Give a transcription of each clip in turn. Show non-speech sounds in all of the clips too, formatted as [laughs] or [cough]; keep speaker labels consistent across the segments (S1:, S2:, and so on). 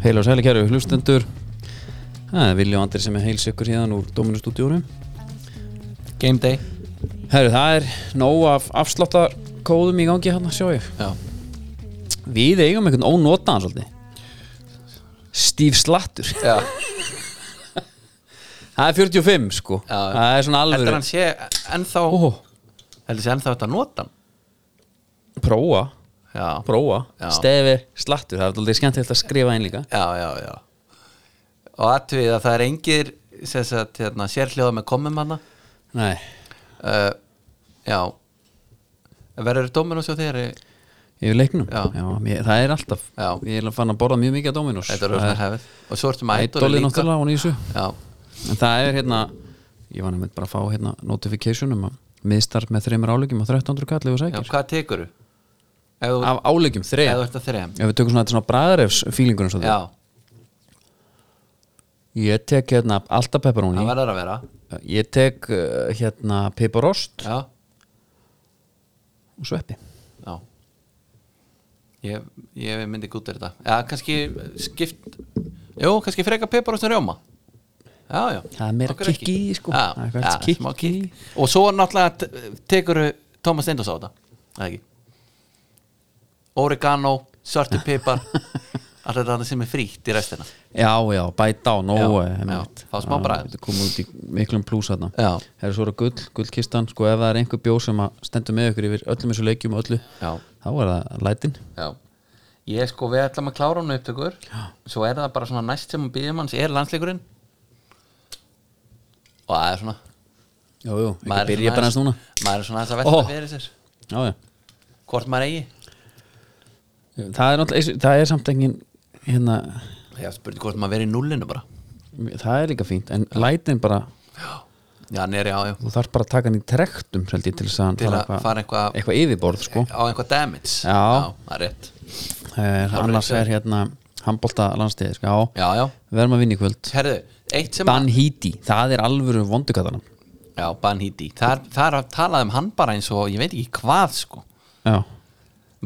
S1: Heil og sæli kæru hlustendur Það er Vilja og Andri sem er heils ykkur hérna úr Dóminustúdíónu
S2: Game day
S1: Herru, það er nóg af afsláttarkóðum í gangi hérna, sjá ég
S2: Já,
S1: Við eigum einhvern ónotaðan svolítið Stíf Slattur
S2: já.
S1: Það er 45 sko
S2: Já, já.
S1: Það er svona
S2: Heldur
S1: alvöru
S2: hann sé ennþá
S1: Ó,
S2: Heldur sé ennþá þetta að nota hann
S1: Prófa,
S2: Já,
S1: prófa
S2: Já.
S1: Stefi Slattur, það er alltaf skemmtilegt að skrifa einn líka
S2: já, já, já Og atvið að það er engir sem sagt, hérna, sérhljóða með komum hana
S1: Nei,
S2: uh, Já Verður dóminu svo þeirri
S1: yfir leiknum
S2: Já.
S1: mér, Það er alltaf
S2: Já.
S1: Ég er að fara að borða mjög mikið að Dóminus
S2: Þetta er svona hefð Og svo ertu með ædoli
S1: Ædolið
S2: líka
S1: náttúrulega, hún í þessu
S2: Já,
S1: En það er hérna Ég var nefnilega bara að fá hérna notification um að miðstart með þreymur álegjum og 1300 kallið og
S2: já
S1: sækir
S2: hvað tekur þú? Ef þú
S1: Af álegjum
S2: ef
S1: þrejum
S2: þú ert að þrejum
S1: Ef við tökum svona þetta svona bræðarefs fílingunum
S2: Já,
S1: svona Ég tek hérna alltaf pepperoni
S2: það verður að vera
S1: Ég tek uh, hérna pepparost
S2: Já,
S1: og sveppi
S2: já Ég, ég myndi gútið þetta Já, kannski skipt Jú, kannski freka pepar og rjóma Já, já
S1: Það er meira
S2: Okkur
S1: kikk í því, sko.
S2: Já,
S1: Það er
S2: já,
S1: eitthvað kikk
S2: smá
S1: í.
S2: kikk Og svo náttúrulega t- tekur Thomas Steindos á þetta Það ekki Oregano, svarti
S1: [laughs]
S2: pepar Allt þetta þarna sem er frítt í restina
S1: Já, já, bæta á, nógu
S2: Já, já, fá smá
S1: eh,
S2: bragð.
S1: Þetta komum út í miklum plús þarna
S2: Já.
S1: Það er svona gull, gullkistan Sko ef það er einhver bjóð sem að stendur með ykkur yfir öllum þessu leikjum og öllu
S2: Já.
S1: Þá er það lætin
S2: Já Ég sko, við ætlum að klára hann upptökur Já. Svo er það bara svona næst sem býðum hans Er landsleikurinn Og það er svona
S1: Jú, jú, ekki
S2: maður er
S1: byrja
S2: svona
S1: bara hans núna Oh.
S2: aðeins- Maður er svona aðeins að velta
S1: Ó.
S2: fyrir sér
S1: Já, já
S2: Hvort maður eigi
S1: það er náttúrulega, það er samt engin hérna,
S2: Já, spurning hvort maður verið í nullinu bara
S1: það er líka fínt en lætin bara,
S2: Já, hann er já, já
S1: þú þarf bara að taka hann í trektum held ég, til þess að hann
S2: Til
S1: fara
S2: að fara eitthvað-
S1: eitthvað yfirborð sko.
S2: Á einhvað damage
S1: Já.
S2: það er rétt
S1: eh, annars er hérna handbolta landstíði sko. já,
S2: Já, já
S1: við erum að vinna í kvöld
S2: Herðu, eitt sem
S1: Dan Híti, það er alvöru vondugatana
S2: Já, Ban Hiti Það er að talað um hann bara eins og Ég veit ekki hvað sko
S1: já,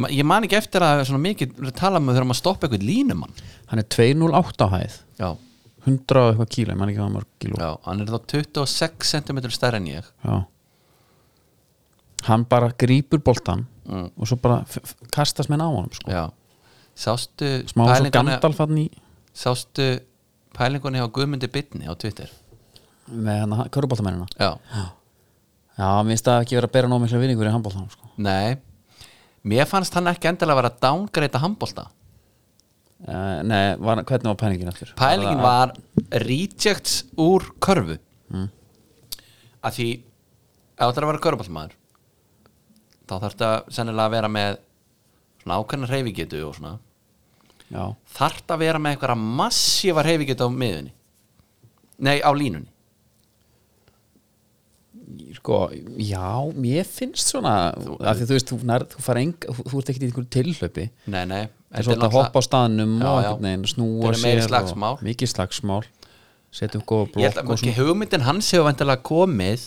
S2: Ma- Ég man ekki eftir að það er svona mikið Talað um að við þurfum að stoppa eitthvað línumann
S1: hann er 208 á hæð
S2: Já
S1: 100 og eitthvað kíla, ég man ekki hvað mörg kíló já.
S2: Já, hann er þá 26 cm stærri en ég
S1: hann bara grípur boltan
S2: Mm.
S1: og svo bara f- f- kastast menn á hann sko.
S2: Já Sástu
S1: smá svo
S2: pælinguna-
S1: Gandalf hann í
S2: Sástu pælingunni á Guðmundi Bitni á Twitter
S1: með
S2: hérna
S1: hann að köruboltamennina
S2: Já,
S1: Já, mér finnst það ekki vera að bera nóg mikla vinningur í handbóltanum sko.
S2: nei Mér fannst hann ekki endilega að vera að dángreita handbólta Eh,
S1: uh, Nei, var, hvernig var pælingin aftur?
S2: Pælingin
S1: það-
S2: var rejects úr körfu mm. að því ef það er að vera körfballmaður þá þarf þetta sennilega að vera með svona ákveðna reyfigetu og svona
S1: Já,
S2: þarf þetta að vera með einhverja massífa reyfigetu á miðunni Nei, á línunni
S1: sko, já, mér finnst svona þú, af því þú veist, þú, nær, þú fara eng þú, þú ert ekkert í einhverju tilhlaupi
S2: Nei, nei
S1: Það er svolítið að hoppa á staðnum
S2: Já,
S1: og
S2: já.
S1: einhvern veginn snúa
S2: Þetta er meiri
S1: sér
S2: slagsmál.
S1: og, Mikið slagsmál Setjum góða
S2: Ég
S1: blokk
S2: held
S1: og
S2: að okay,
S1: svona
S2: hugmyndin hans hefur vantilega komið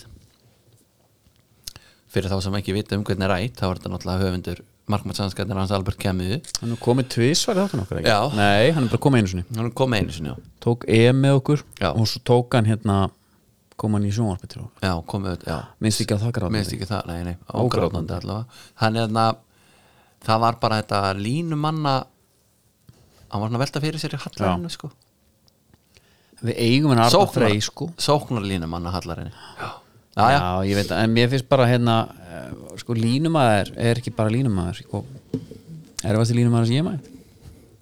S2: fyrir þá sem ekki vita um hvernig er rætt þá er þetta náttúrulega höfundur markmannsanskættir hans Albert Camus
S1: Hann er komið tvisvar í þáttunum okkur ekki?
S2: Já.
S1: Nei, hann er bara komið einu sinni
S2: hann er komið einu sinni já,
S1: Tók EM með okkur
S2: Já.
S1: og svo tók hann hérna kom hann í sjónvarpi til okkur
S2: já komið já.
S1: Minnst ekki að það gráði
S2: minnst ekki það, nei, nei,
S1: Ógrátandi.
S2: ágrátandi allavega hann er þarna það var bara þetta línumanna hann var svona að velta fyrir sér í hallarinnu sko
S1: Við eigum hann Arna
S2: Sóknar-
S1: Frey sko
S2: sóknarlínumanna hallarinnu já, já, já,
S1: Já, ég veit að, en mér finnst bara hérna eh, sko línumæður er ekki bara línumæður sko, erfasti línumæður sem ég mætt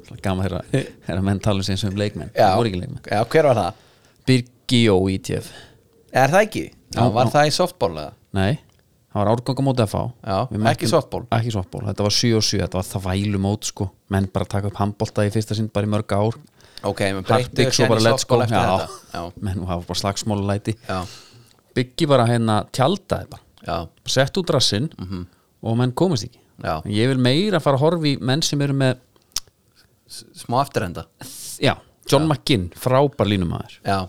S1: Það er gaman þeirra
S2: [laughs]
S1: þeirra menn tala um sig eins og um leikmenn það voru ekki leikmenn
S2: já hver var það?
S1: Birgi Jó E ITF,
S2: er það ekki? Já, var það í softball eða?
S1: nei það var árgangamóti að fá
S2: Já,
S1: Við mættum-
S2: ekki softball.
S1: Ekki softball, þetta var 7 og 7 þetta var þvælumót sko, menn bara taka upp handbolta í fyrsta sinn bara í mörg ár
S2: ok, menn breyttu
S1: Hartbygg svo bara let's go
S2: eftir
S1: Já,
S2: þetta já,
S1: menn nú hafa bara slagsmála læti
S2: já,
S1: Byggi bara hérna tjaldaði bara
S2: já,
S1: sett út rassinn og menn komast ekki
S2: Já.
S1: ég vil meira fara að horfa í menn sem eru með
S2: S- smá afturenda
S1: já, John McGinn, frábær línumæður
S2: já,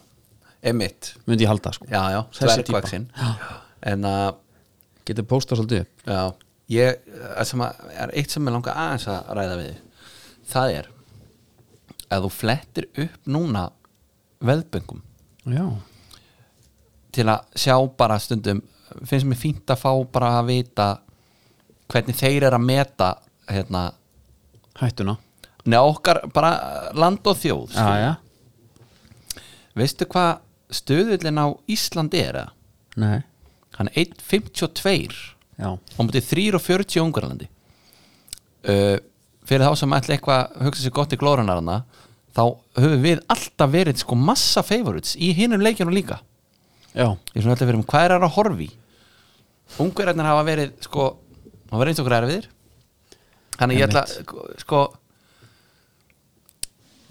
S2: emitt
S1: myndi ég halda sko,
S2: já, já,
S1: Þessi
S2: dvergvaksinn en að,
S1: getur póstað svolítið upp
S2: já ég, það sem að, er eitt sem ég langar aðeins að ræða við þig. það er ef þú flettir upp núna veðböngum
S1: já,
S2: til að sjá bara stundum finnst mér fínt að fá bara að vita hvernig þeir eru að meta hérna,
S1: hættuna
S2: neða okkar bara land og þjóð
S1: já, já,
S2: veistu hvað stöðullin á Ísland er eða?
S1: nei
S2: hann er 1.52
S1: já,
S2: á mútið 3.40 Ungarlandi uh, fyrir þá sem ætla eitthvað að hugsa sér gott í glórunarna þá höfum við alltaf verið sko massa favorites í hinnum leikjunum líka
S1: já,
S2: ég svona alltaf verið um hvað er að horfi ungverðarnir hafa verið sko, hafa verið eins og erfiðir þannig ég ætla sko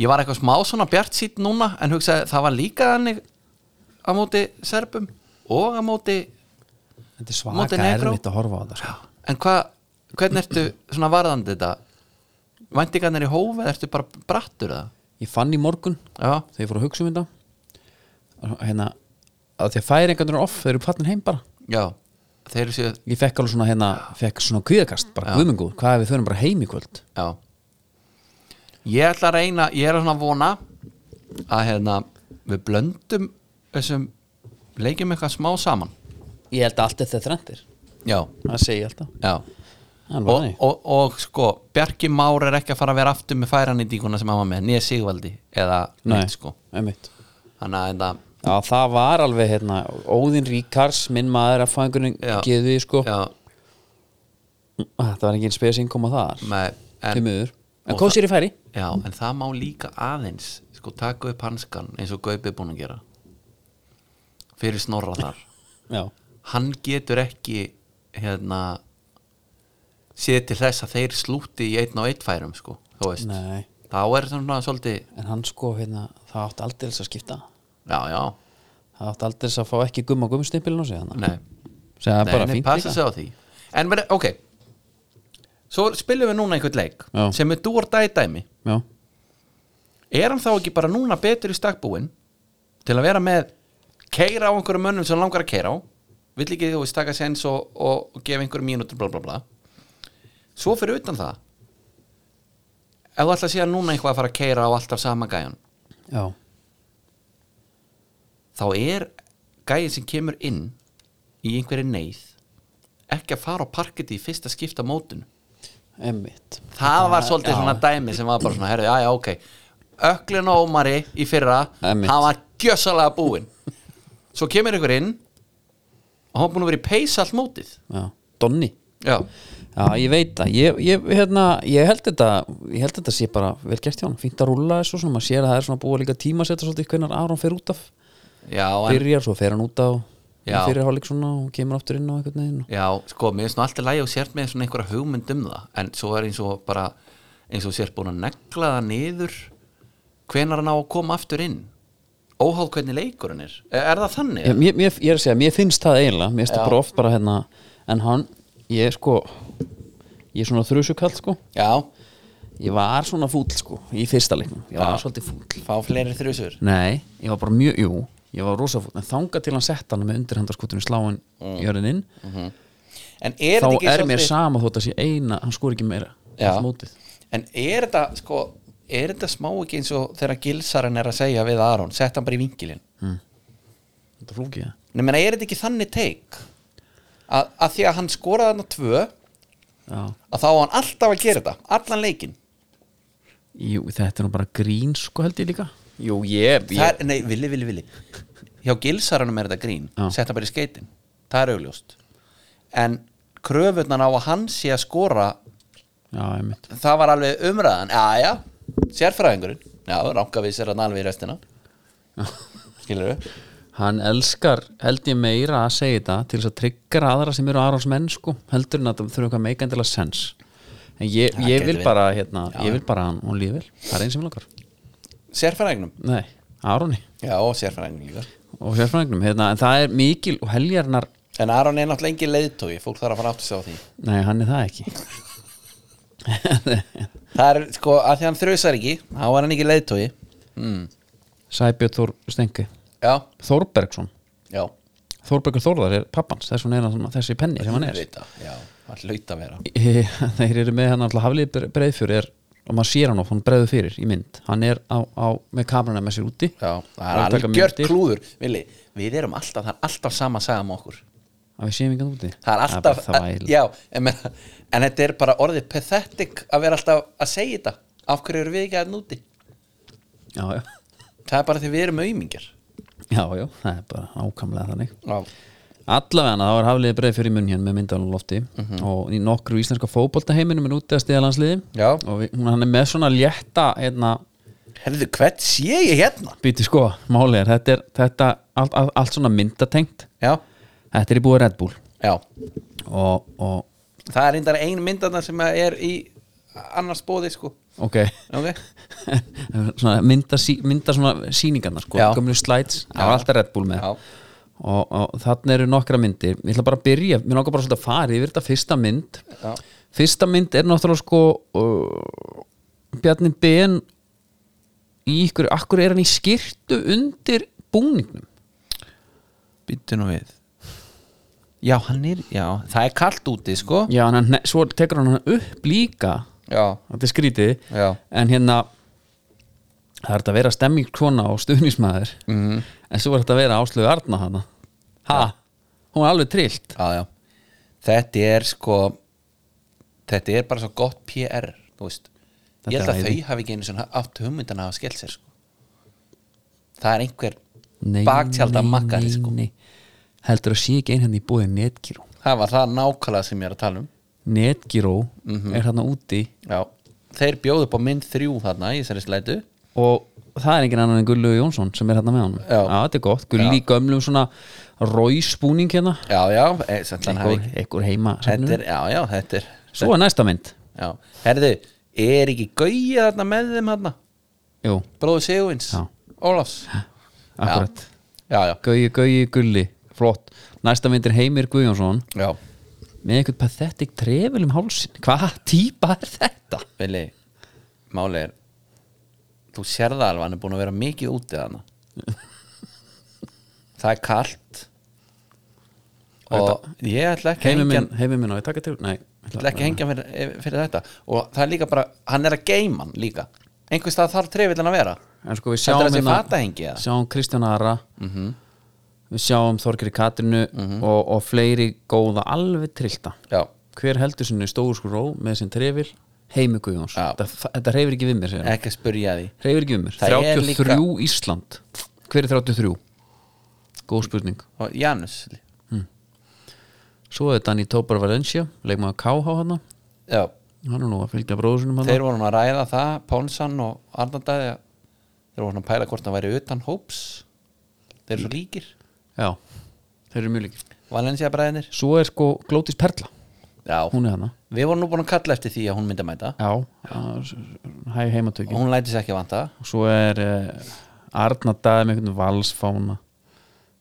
S2: ég var eitthvað smá svona bjart sýtt núna en hugsaði það var líka þannig á móti serbum og á móti
S1: þetta er
S2: Monte
S1: svaka
S2: Negro.
S1: erfitt að horfa á það sko.
S2: en hvað, hvernig ertu svona varðandi þetta væntingarnir í hófi eða ertu bara brattur það
S1: ég fann í morgun
S2: já,
S1: þegar ég fór að hugsa um þetta að hérna, að því að færingarnir eru off þeir eru pattin heim bara
S2: já, þeir séu
S1: ég fekk alveg svona hérna, fekk svona kvíðakast bara guðmengu, hvað ef við förum bara heim í kvöld
S2: já ég ætla að reyna, ég er svona að vona að hérna við blöndum þessum leikjum eitthvað smá saman
S1: ég held að allt þetta þrendir,
S2: já,
S1: það segi ég alltaf
S2: já
S1: Það er bara
S2: og,
S1: þannig.
S2: og, og sko, Bjarki Már er ekki að fara að vera aftur með færanýtinguna sem hann var með, nýja Sigvaldi eða
S1: Nei,
S2: neitt sko
S1: einmitt.
S2: þannig að hérna, þetta,
S1: Já, það var alveg hérna, Óðinn Ríkars, minn maður að fæðingurinn
S2: Já.
S1: geði sko. Ah,
S2: já,
S1: Þetta var engin spes innkoma þar,
S2: með
S1: til miður. En
S2: og
S1: kom sér í færi?
S2: Já, en það má líka aðeins sko taka upp hanskan eins og Gaupi er búin að gera fyrir snorra þar
S1: Já.
S2: hann getur ekki hérna séð til þess að þeir slúti í einn og einn færum sko, þú veist
S1: Nei,
S2: þá er svona svolítið
S1: en hann sko, hérna, það átti aldeilis að skipta.
S2: já, já,
S1: Það átti aldeilis að fá ekki gumma gummstimpilin á sig þannig.
S2: nei,
S1: Segða það er bara
S2: nei, nei
S1: fínt
S2: passa
S1: líka.
S2: sig á því en verið, ok svo spilum við núna einhvern leik
S1: Já.
S2: sem er dúr dædæmi
S1: Já.
S2: er hann þá ekki bara núna betur í stakkbúin til að vera með keira á einhverjum mönnum sem langar að keira á vill ekki þú veist taka sens og, og, og gefa einhverjum mínútur bla bla bla svo fyrir utan það ef þú ætla að segja núna eitthvað að fara að keira á alltaf sama gæjan
S1: Já.
S2: þá er gæjan sem kemur inn í einhverju neyð ekki að fara á parketi í fyrsta skipta mótun
S1: Einmitt.
S2: það var svolítið svona dæmi sem var bara svona herrið, já já ok Öklin og Ómari í fyrra
S1: Einmitt.
S2: hann var gjössalega búinn svo kemur ykkur inn og hann er búinn að vera í peys allt mótið
S1: Já. Donni.
S2: já,
S1: Já, ég veit það. Ég, ég, hérna, ég held þetta, ég held þetta sé bara vel gert hjá hann. Fínt að rúlla þessu, svona, maður sér að það er svona búið að líka tíma svolítið hvernig Aron fer út af.
S2: já, en,
S1: byrjar, svo fer hann út á
S2: Já.
S1: fyrirháleik svona og kemur aftur inn á einhvern veginn og-
S2: já sko, mér er svona alltaf lægi og sért með svona einhverja hugmynd um það en svo er eins og bara eins og sért búinn að negla það niður hvenar hann á að koma aftur inn óháð hvernig leikurinn er er, er það þannig?
S1: ég, mér, ég er að segja, mér finnst það eiginlega mér finnst það bara oft bara hérna en hann, ég er sko ég er svona þrjusukall sko
S2: já,
S1: ég var svona fúll sko í fyrsta leiknum, ég var svolítið fúll
S2: fá fleiri þrjusur
S1: nei, ég var bara mjög, jú ég var rosa fúll, en þanga til hann setta hann með undirhandarskutinu sláin mm. í örðin inn
S2: en er
S1: þá
S2: þetta ekki
S1: er mér
S2: svolítið-
S1: sama þótt að sé eina hann skor ekki meira,
S2: Já.
S1: allt mótið
S2: En er þetta sko er þetta smá ekki eins og þegar gilsarinn er að segja við Aron, sett hann bara í vingilin
S1: þetta er flókið, það.
S2: Nei, menn, er þetta ekki þannig teik að, að því að hann skoraði hann á tvö að
S1: já
S2: þá á hann alltaf að gera þetta, allan leikin
S1: Jú, þetta er nú bara grín sko held ég líka Jú, ég,
S2: það er, nei, villi, villi, villi hjá gilsarinnum er þetta grín,
S1: Já.
S2: sett hann bara í skeitin það er augljóst en kröfurnar á að hann sé að skora
S1: Já, einmitt
S2: það var alveg umræðan já, já, sérfræðingurinn já, ránka við sér að nalvi í restina skilur við
S1: Hann elskar, held ég meira að segja þetta til þess að tryggra aðra sem eru Arons menn sko, heldur en að það þurfa eitthvað meikandilega sens En ég,
S2: það
S1: ég
S2: gæti
S1: vil
S2: verið.
S1: bara, hérna, ég vil bara að hann, hún lífið Það er einn sem vil okkar
S2: sérfræðingnum
S1: Nei, Aroni
S2: Já, og sérfræðingur líka
S1: og fjárfræðingnum, hérna, en það er mikil og heljarnar,
S2: En Aron er náttúrulega engin leiðtói, fólk þarf að fara átt að á því
S1: nei, hann er það ekki
S2: Það er sko, að því hann þrjusar ekki þá er hann ekki leiðtói mm.
S1: Sæbjörn Þór Stengi
S2: Já,
S1: Þórbergsson,
S2: já
S1: Þórbergur Þórðar er pappans, þess hún er hann- þessi penni sem hann er [laughs]
S2: Vita, Já, hann hlaut að vera
S1: Eh, þeir eru með hann alltaf haflið breyðfjör er og maður sér hann of, hann bregður fyrir í mynd hann er á, á, með kamerana með sér úti
S2: Já, það
S1: Hann
S2: er
S1: að taka
S2: algjört
S1: myndir.
S2: klúður Vili, við erum alltaf, það er alltaf sama að sagða um okkur
S1: að við séum engan úti
S2: Það er alltaf,
S1: bara það væl.
S2: já, en, meina, en þetta er bara orðið pathetic að vera alltaf að segja þetta Af hverju eru við ekki að núti?
S1: já, já,
S2: Það er bara því við erum aumingar
S1: já, já, það er bara ákamlega þannig
S2: Já,
S1: allavega þá er hafliði breið fyrir munn hér með myndalum lofti og í nokkru íslenska fótboltaheiminum er úti að stiða landsliði
S2: Mhm. Já.
S1: og við, hún, hann er með svona létta hérna,
S2: herðu, hvert sé ég hérna?
S1: býti sko, máli er þetta, er, þetta allt, allt, allt svona myndatengt
S2: Já,
S1: þetta er í búið Red Bull
S2: já
S1: og, og
S2: Það er reyndar ein myndana sem að er í annars bóði sko
S1: ok [laughs]
S2: okay?
S1: svona, mynda, sí, mynda svona síningarnar sko,
S2: Já.
S1: gömlu slides, það var alltaf Red Bull með
S2: Já.
S1: og, og þannig eru nokkra myndir ég ætla bara að byrja, mér langar bara svolítið að fara yfir þetta fyrsta mynd
S2: Já.
S1: fyrsta mynd er náttúrulega sko uh, Bjarni Ben í ykkur, akkur er hann í skirtu undir búningnum
S2: Býttu nú við Já, hann er, já, það er kalt úti sko
S1: já, hann, hann- svo tekur hann hann upp líka
S2: Já,
S1: þetta er skrítið
S2: Já.
S1: en hérna það er þetta að vera stemming kona og stuðnismæður
S2: Mhm.
S1: mm. en svo er þetta að vera áslögu Arna hana ha, hún er alveg trillt
S2: já, já Þetta er sko Þetta er bara svo gott PR Þú veist,
S1: Þetta
S2: ég held
S1: er
S2: að
S1: æði.
S2: þau hafi ekki einu svona átt hugmyndan að hafa skellt sér sko Það er einhver
S1: Nei,
S2: baktjald að
S1: nei,
S2: makka
S1: nei,
S2: sko
S1: nei. heldur að sé ekki einhvern í búið Netgyro
S2: Það var það nákvæmlega sem ég er að tala um
S1: Netgyro
S2: Mhm.
S1: er þarna úti
S2: Já, þeir bjóðu upp á mynd þrjú þarna í þessari slætu
S1: og það er engin annan en Gullu Jónsson sem er hérna með honum
S2: Já.
S1: þetta er gott, Gulli í gömlum svona ræspúning hérna
S2: Já, já, e, sem hann hafi
S1: einhver,
S2: ekki
S1: einhver heima
S2: Þetta er, já, já, þetta er
S1: svo er næsta mynd
S2: Já, herðu, er ekki gauja þarna með þeim þarna?
S1: Jú,
S2: Bróðu Sigurins,
S1: Já.
S2: Ólafs
S1: akkurat
S2: Já, já,
S1: Gauji, Gauji, Gulli, flott næsta mynd er Heimir Guðjónsson
S2: já
S1: með eitthvað pathetic trefil um hálsin hvaða típa er þetta?
S2: Vili, máli er Þú sér það alveg, hann er búin að vera mikið úti þarna
S1: [laughs]
S2: Það er kalt Og ég ætla ekki að
S1: Heimir
S2: hengja
S1: minn, heimir minn á ég taka til Nei,
S2: Ég ætla ekki að hengja fyrir, eh, fyrir þetta og það er líka bara, hann er að geima hann líka einhvers stað þarf trefillin að vera
S1: en sko við
S2: Heldur
S1: sjáum
S2: að sé
S1: hérna-
S2: fatahengi, eða?
S1: sjáum Kristján Ara
S2: Mhm.
S1: við sjáum Þorgeri Katrinu og, og fleiri góða alveg trillta
S2: já,
S1: hver heldur sinni stóru skró með sinn trefil Heimir Guðjóns
S2: Já.
S1: þetta, þetta reyfir ekki við mér segir hann.
S2: ekki að spurja því
S1: reyfir ekki við mér
S2: Það er
S1: 33
S2: líka-
S1: Ísland hver er 33? góð spurning
S2: og Janus,
S1: Svo er Danny Tópar Valencia leikmaður KH hann
S2: já,
S1: hann er nú að fylgja bróðusunum hann
S2: þeir voru nú að ræða það Pálsson og Arnandæði þeir voru nú að pæla hvort það væri utan hóps þeir eru svo líkir
S1: Já, þeir eru mjög líkir
S2: Valencia bræðinir,
S1: Svo er sko Glótis Perla,
S2: já,
S1: hún er hann
S2: við vorum nú búin að kalla eftir því að hún myndi að mæta
S1: Já, að- hæ heimatökin
S2: og hún læti sér ekki að vanta
S1: Svo er uh, Arna Dæði með einhvern valsfána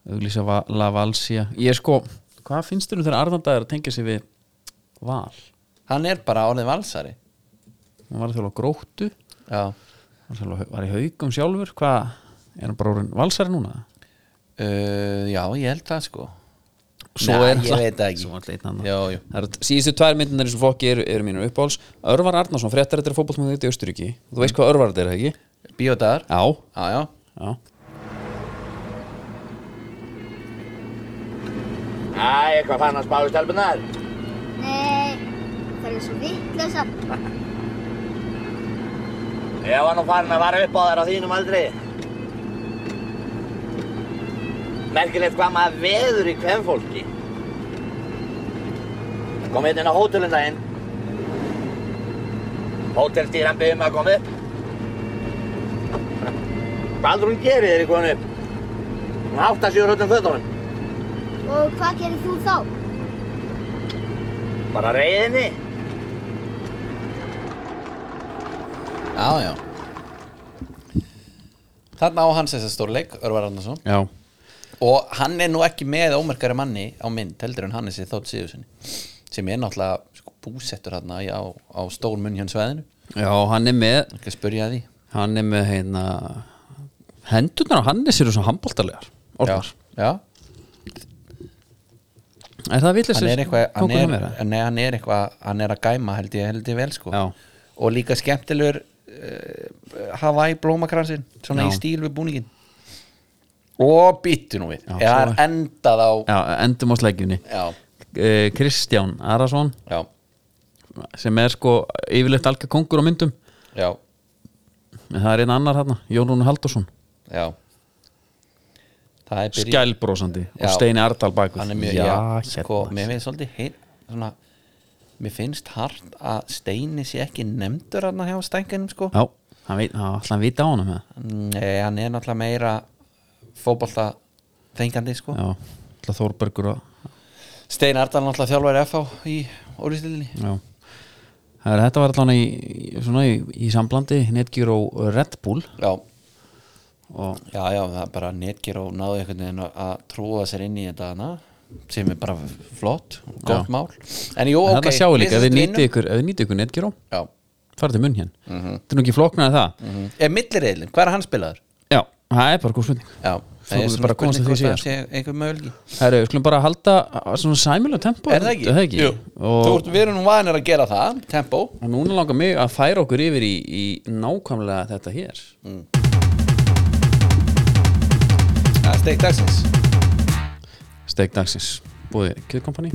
S1: auglýsa va- La Valsia Ég er sko, hvað finnst þér um þegar Arna Dæði er að tengja sig við Val?
S2: hann er bara orðið valsari
S1: Hún var að þjóla gróttu
S2: já,
S1: var, að þjálfa- var í haugum sjálfur, hvað er hann bara orðin valsari núna?
S2: uh, já, ég held það sko
S1: Svo
S2: Nei,
S1: er
S2: ég veit það ekki
S1: Svo er leitna
S2: Jú, jú.
S1: Það eru síðustu tvær myndunar í þessum flokki eru, eru mínur uppáhals Örvar Arnarsson, fréttar þetta er fótbollmöðu í Austuríki Þú veist hvað Örvar þetta er, ekki?
S2: Bíódagar,
S1: Já,
S2: já, já
S1: já
S3: Æ, hvað fann að spáðu stelpunar?
S4: Nei, það er eh, svo vittlösa.
S3: Ég var nú farin að vara upp á þær á þínum aldri. Merkilegt hvað maður veður í kvennfólki. Kom hérna inn á hótelum daginn. Hótelstýran byggði mig að koma upp. Baldrún gerir þér í konu upp. Hún átt að sjöur öllum fötunum.
S4: Og hvað gerir þú þá?
S3: Bara reyðinni.
S2: Já, já Þarna á hans þessa stórleik, Örvar Arnarsson
S1: Já,
S2: og hann er nú ekki með ómerkari manni á mynd, heldur en hann er sér þótt síðusinni sem er náttúrulega sko, búsettur hann á, á stór munn hjá sveðinu
S1: já hann er með
S2: ekki að spurja því
S1: Hann er með hérna Hendurnar á Hannes eru svo handbóltalegar Orðnar,
S2: já,
S1: er það vitleysir?
S2: hann er eitthvað hann er, nei, hann er eitthvað, hann er að gæma held ég, held ég vel sko
S1: Já.
S2: og líka skemmtilegur uh, Hawaii blómakransin svona
S1: Já.
S2: í stíl við búningin og býttu nú við
S1: Já, svo
S2: eða það er
S1: er-
S2: endað á
S1: Já, endum á slækjunni
S2: já,
S1: Eh, Kristján Arason
S2: já,
S1: sem er sko yfirleitt alga kongur á myndum
S2: já,
S1: en það er einn annar hérna, Jón Rúnu Haldursson
S2: já. það er byrjað
S1: skælbrósandi og
S2: Já.
S1: Steini Ardal bakur
S2: hann er mjög,
S1: já,
S2: já,
S1: hérna
S2: sko, mér finnst svolítið heil, svona, mér finnst hart að Steini sé ekki nefndur hann hjá stænkanum, sko
S1: já, hann veit, hann ætla að vita á honum eða?
S2: Nei, hann er náttúrulega meira fótbolta þengandi, sko
S1: já, ætla Þórbergur að
S2: Steini Ardal náttúrulega þjálfari FH í orðistilinni
S1: já Það er, þetta var allan í, í- svona, í, í samblandi Netgear og Red Bull
S2: Já,
S1: og
S2: já, já, það er bara netgir og náðu einhvern veginn að- að trúa sér inn í þetta hana sem er bara flott, gott
S1: Já.
S2: mál En jú,
S1: okay,
S2: ok,
S1: þetta sjáu líka, ef þið
S2: listastinum-
S1: nýtið ykkur, ef þið nýtið ykkur Netgear
S2: Já,
S1: farið til munn hér, þetta er nú ekki flóknar það
S2: mhm. er millireilin, hvað er hann spilaður?
S1: já, það er bara góð spurning
S2: Já,
S1: Svo við bara komast að því síðar, sko.
S2: Einhver mögulegi
S1: Herru, við skulum bara halda á svona sæmilu tempo
S2: Er það ekki?
S1: Er það ekki?
S2: Jú.
S1: Og,
S2: Þú ert verið nú vanir að gera það, tempo
S1: og núna langar mig að færa okkur yfir í, í nákvæmlega þetta hér
S2: Það er steik dagsins
S1: Steik dagsins, búið kjöðkompani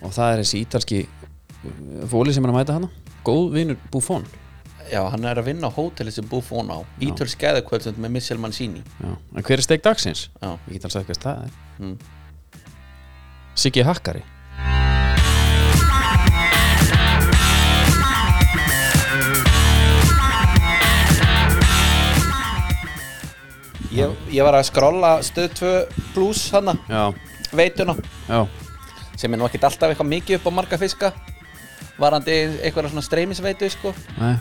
S1: og það er þessi ítalski uh, fóli sem er að mæta hana Góð vinur Buffon
S2: Já, hann er að vinna á hóteli sem Buffon á Ítöl skæðakvöldsund með Missel Mancini
S1: Já. En hver er steik dagsins?
S2: Já. Mm.
S1: Ég get alls að hvað það er Siggi Hakkari
S2: Ég, ég var að skrolla stöð 2 plus hana,
S1: Já,
S2: veituna
S1: já,
S2: sem er nú ekkert alltaf eitthvað mikið upp á marga fiska varandi einhverja svona streymisveitu sko.
S1: nei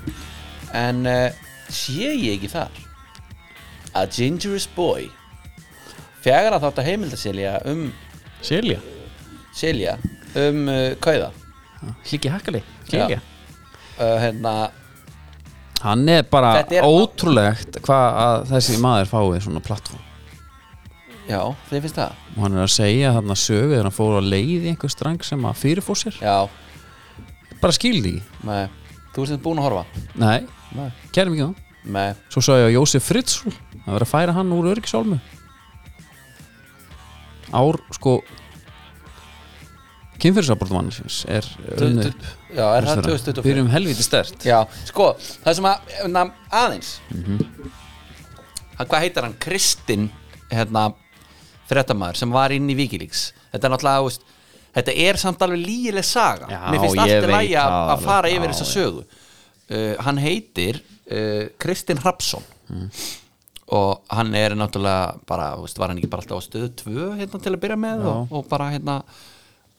S2: en uh, sé ég ekki þar A Gingerous Boy fjagra þátt að heimildasilja um
S1: Silja
S2: silja um uh, kauða
S1: Siggi Hakkari,
S2: Já. uh, hérna,
S1: Hann er bara
S2: Þetta er-
S1: ótrúlegt hvað að þessi maður fái svona plattform
S2: já, þið finnst það
S1: og hann er að segja þarna sögu þegar hann fór á leið í einhver strang sem að fyrirfór sér
S2: já,
S1: bara skildi í,
S2: nei, þú ert sem búin að horfa
S1: nei,
S2: nei,
S1: kærum ekki það
S2: nei
S1: svo sagði ég að Jósef Fritzl að vera að færa hann úr örgisálmu ár sko kynfyrirsraportumannisins er unnið upp
S2: já, er það 2024?
S1: við erum helviti stert
S2: Já, sko, það sem að na, aðeins hann, hvað heitar hann, Kristinn hérna, fréttamaður sem var inn í Wikileaks, þetta er náttúrulega veist, þetta er samt alveg lígileg saga
S1: Já,
S2: mér finnst
S1: ég
S2: allt í
S1: veit
S2: lagi að
S1: það
S2: að
S1: alveg,
S2: fara
S1: já,
S2: yfir þessa
S1: já.
S2: sögu uh, hann heitir uh, Kristinn Hrapsson
S1: Mm.
S2: og hann er náttúrulega bara, þú veist, var hann ekki bara alltaf á stöðu tvö hérna til að byrja með og, og bara hérna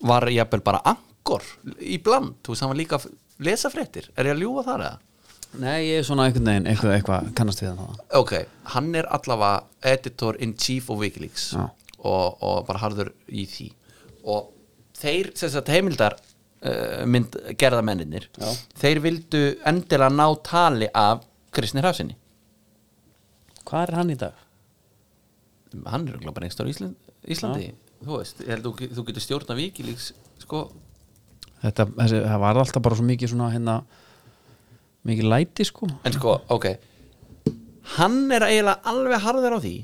S2: var jafnvel bara angor í bland, þú veist, hann var líka að lesa fréttir, er ég að ljúga þar eða?
S1: nei, ég er svona einhvern veginn eitthvað, eitthvað kannast við það
S2: ok, hann er allavega editor in chief of Wikileaks
S1: Já.
S2: og, og bara harður í því og þeir, sem sagt heimildar uh, mynd gerða menninir Já. þeir vildu endilega ná tali af Kristni Hrafsinni
S1: hvað er hann í dag?
S2: hann er örugglega bara einhvers staðar á Ísland, Íslandi þú veist, ég held þú, þú getur stjórna Wikileaks sko,
S1: Þetta, þessi, það var alltaf bara svo mikið svona hérna mikið læti sko
S2: en sko, ok hann er eiginlega alveg harður á því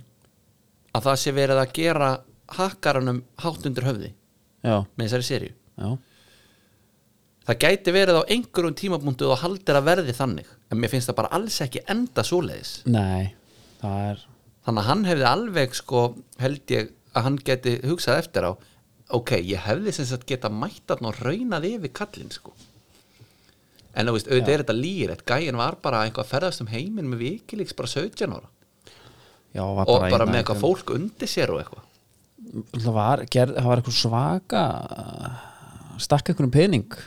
S2: að það sé verið að gera hakkaranum hátt undir höfði
S1: já,
S2: með þessari serju
S1: já,
S2: það gæti verið á einhverjum tímapunktu og haldir að verði þannig en mér finnst það bara alls ekki enda svoleiðis
S1: nei það er,
S2: þannig að hann hefði alveg sko held ég að hann geti hugsað eftir á ok, ég hefði sem sagt geta mættan og raunað yfir kallinn sko en þú veist, auðvitað er þetta lýrætt gæin var bara eitthvað að ferðast um heiminn með vikilíks bara 17 ára
S1: já, var
S2: og bara
S1: hérna
S2: með eitthvað fólk undir sér og eitthvað
S1: það var, gerð, það var eitthvað svaka stakk eitthvað pening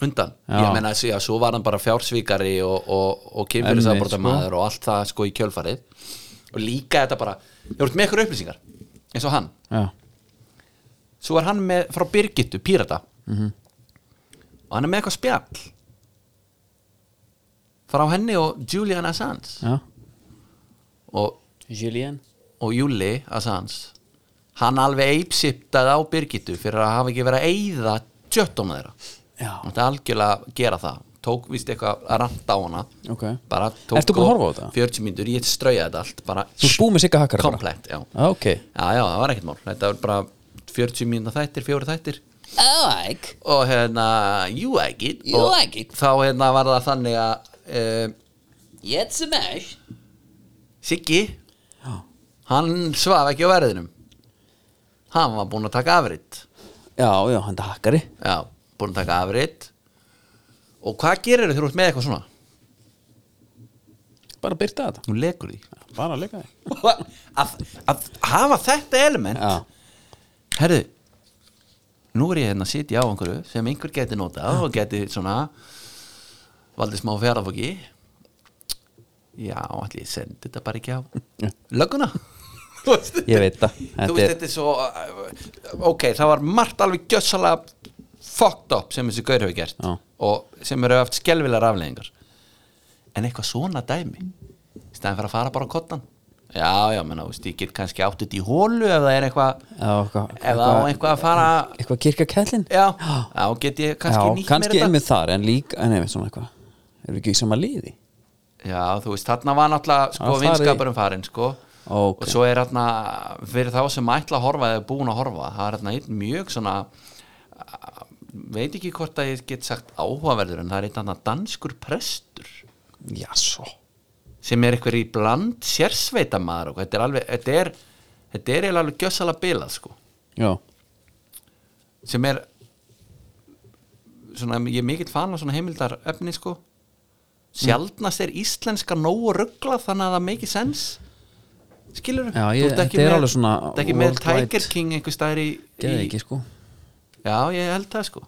S2: undan,
S1: Já.
S2: ég meina já, svo var hann bara fjársvíkari og, og, og kynfyrirsaborda
S1: Einmitt, sko.
S2: maður og allt það sko í kjölfarið og líka þetta bara, ég voru með ykkur upplýsingar eins og hann,
S1: já,
S2: svo er hann með frá Birgittu, Pírata
S1: Mhm.
S2: og hann er með eitthvað spjall frá henni og Julian Assange
S1: já
S2: og,
S1: Julien
S2: og Júli Assange hann alveg eipsiptaði á Birgittu fyrir að hafa ekki verið að eyða tjöttum þeirra
S1: já,
S2: Þetta algjörlega gera það tók víst eitthvað að ranta á hana
S1: Ok.
S2: bara tók
S1: Ertu búin að
S2: og-
S1: horfa á þetta?
S2: 40 mínútur, ég strauja þetta allt bara
S1: Þú ert búinn með Sigga Hakkara bara?
S2: komplett, já.
S1: Ah, ok.
S2: já, já, það var ekkert mál, þetta var bara 40 mínútur þættir, fjóri þættir
S1: Æg
S2: og hérna, you like it
S1: You
S2: og
S1: like it.
S2: þá hérna var það þannig að uh,
S1: Ég sem er
S2: Siggi hann svaf ekki á verðinum hann var búinn að taka afrið
S1: Já, já, hann er Hakkari
S2: já, búinn að taka afrið og hvað gerir þú út með eitthvað svona?
S1: Bara að byrta þetta
S2: Þú lekur því
S1: Bara að leika þig
S2: að, að hafa þetta element
S1: Já,
S2: herðu nú er ég hérna að sitja á einhverju sem einhver geti notað og geti svona valdið smá fjárafóki já, allir ég sendi þetta bara ekki á
S1: [laughs]
S2: lögguna Þú veist,
S1: Ég veit það.
S2: þú
S1: Þetta
S2: veist
S1: er-
S2: þetta er svo uh, ok, það var margt alveg gjössalega fucked up sem þessi gaur hefur gert
S1: Já.
S2: og sem eru haft skelvilegar afleggingar en eitthvað svona dæmi í staðin fyrir að fara bara á kottan já, já, menn, þú veist, ég get kannski átt þetta í hólu ef það er eitthvað
S1: Já, eitthvað-
S2: ef það á eitthvað að fara
S1: eitthvað kirkjakællin
S2: já, þá get ég kannski
S1: já,
S2: nýtt
S1: kannski
S2: mér
S1: einmitt þar en líka, nei, veit svona eitthvað erum við ekki í sama liði
S2: þetta já, þú veist, þarna var náttúrulega sko,
S1: Hann farið í-
S2: vinskapurum farin sko.
S1: Ókei.
S2: og svo er þarna fyrir þá sem ætla að horfa eða er búin að horfa það er þarna einn mjög svona a- veit ekki hvort að ég get sagt áhugaverður en það er einn þarna danskur prestur
S1: já, svo
S2: sem er eitthvað í bland sérsveitamaður og þetta er alveg þetta er, þetta er eiginlega alveg gjössalega bilað sko.
S1: já,
S2: sem er svona, ég er mikill fan af svona heimildar efni sko sjaldnast er íslenska nógu ruggla þannig að það make sense skilur
S1: Já, ég- þetta er alveg svona
S2: þú ert ekki með
S1: worldwide.
S2: Tiger King einhver staðar í,
S1: geði
S2: í
S1: ekki sko
S2: já ég held það sko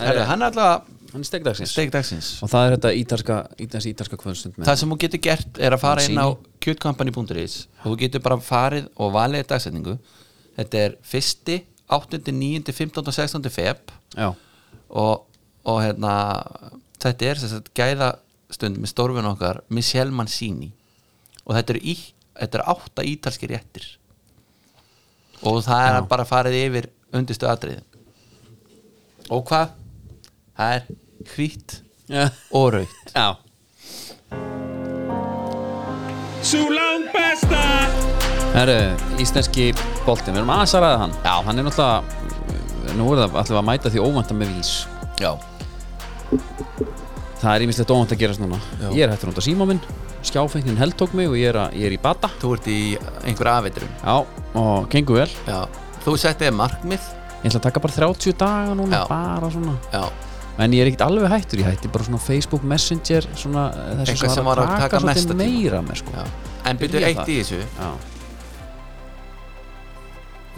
S2: Heru, hann er alltaf
S1: hann er stegdagsins
S2: steg dagsins
S1: og það er þetta ítalska, ítalska, ítalska kvöldstund með
S2: það sem þú getur gert er að fara inn á kjötkampani.is og þú getur bara farið og valið dagsetningu þetta er 1. 8. 9. 15. 16. feb
S1: já,
S2: og, og hérna þetta er þess að gæða stund með stórfin okkar Michelle Mancini og þetta eru í, þetta er átta ítalski réttir og það er bara farið yfir undistu atriðin og hvað? það er hvít
S1: já,
S2: og raut
S1: já.
S5: Sú lang besta
S1: Heru, íslenski boltinn, við erum aðeins að ræða hann já, hann er náttúrulega nú er það allir að mæta því óvænta með vís
S2: já,
S1: það er ímislegt óvænt að gerast núna ég er hættur að nota síma minn, skjáfengnin heldtók mig og ég er, að, ég er í bata
S2: þú ert í einhver afitrum
S1: já, og gengur vel
S2: já. þú settið markmið
S1: ég ætla að taka bara 30 daga núna
S2: Já.
S1: bara svona
S2: já,
S1: en ég er ekkert alveg hættur í hætti bara svona Facebook Messenger svona, eh, þessu
S2: Eitthvað sem var að taka mesta
S1: svolítið
S2: tíma.
S1: meira með sko.
S2: já. en byrju
S1: Ég
S2: eitt
S1: það.
S2: í þessu
S1: Já.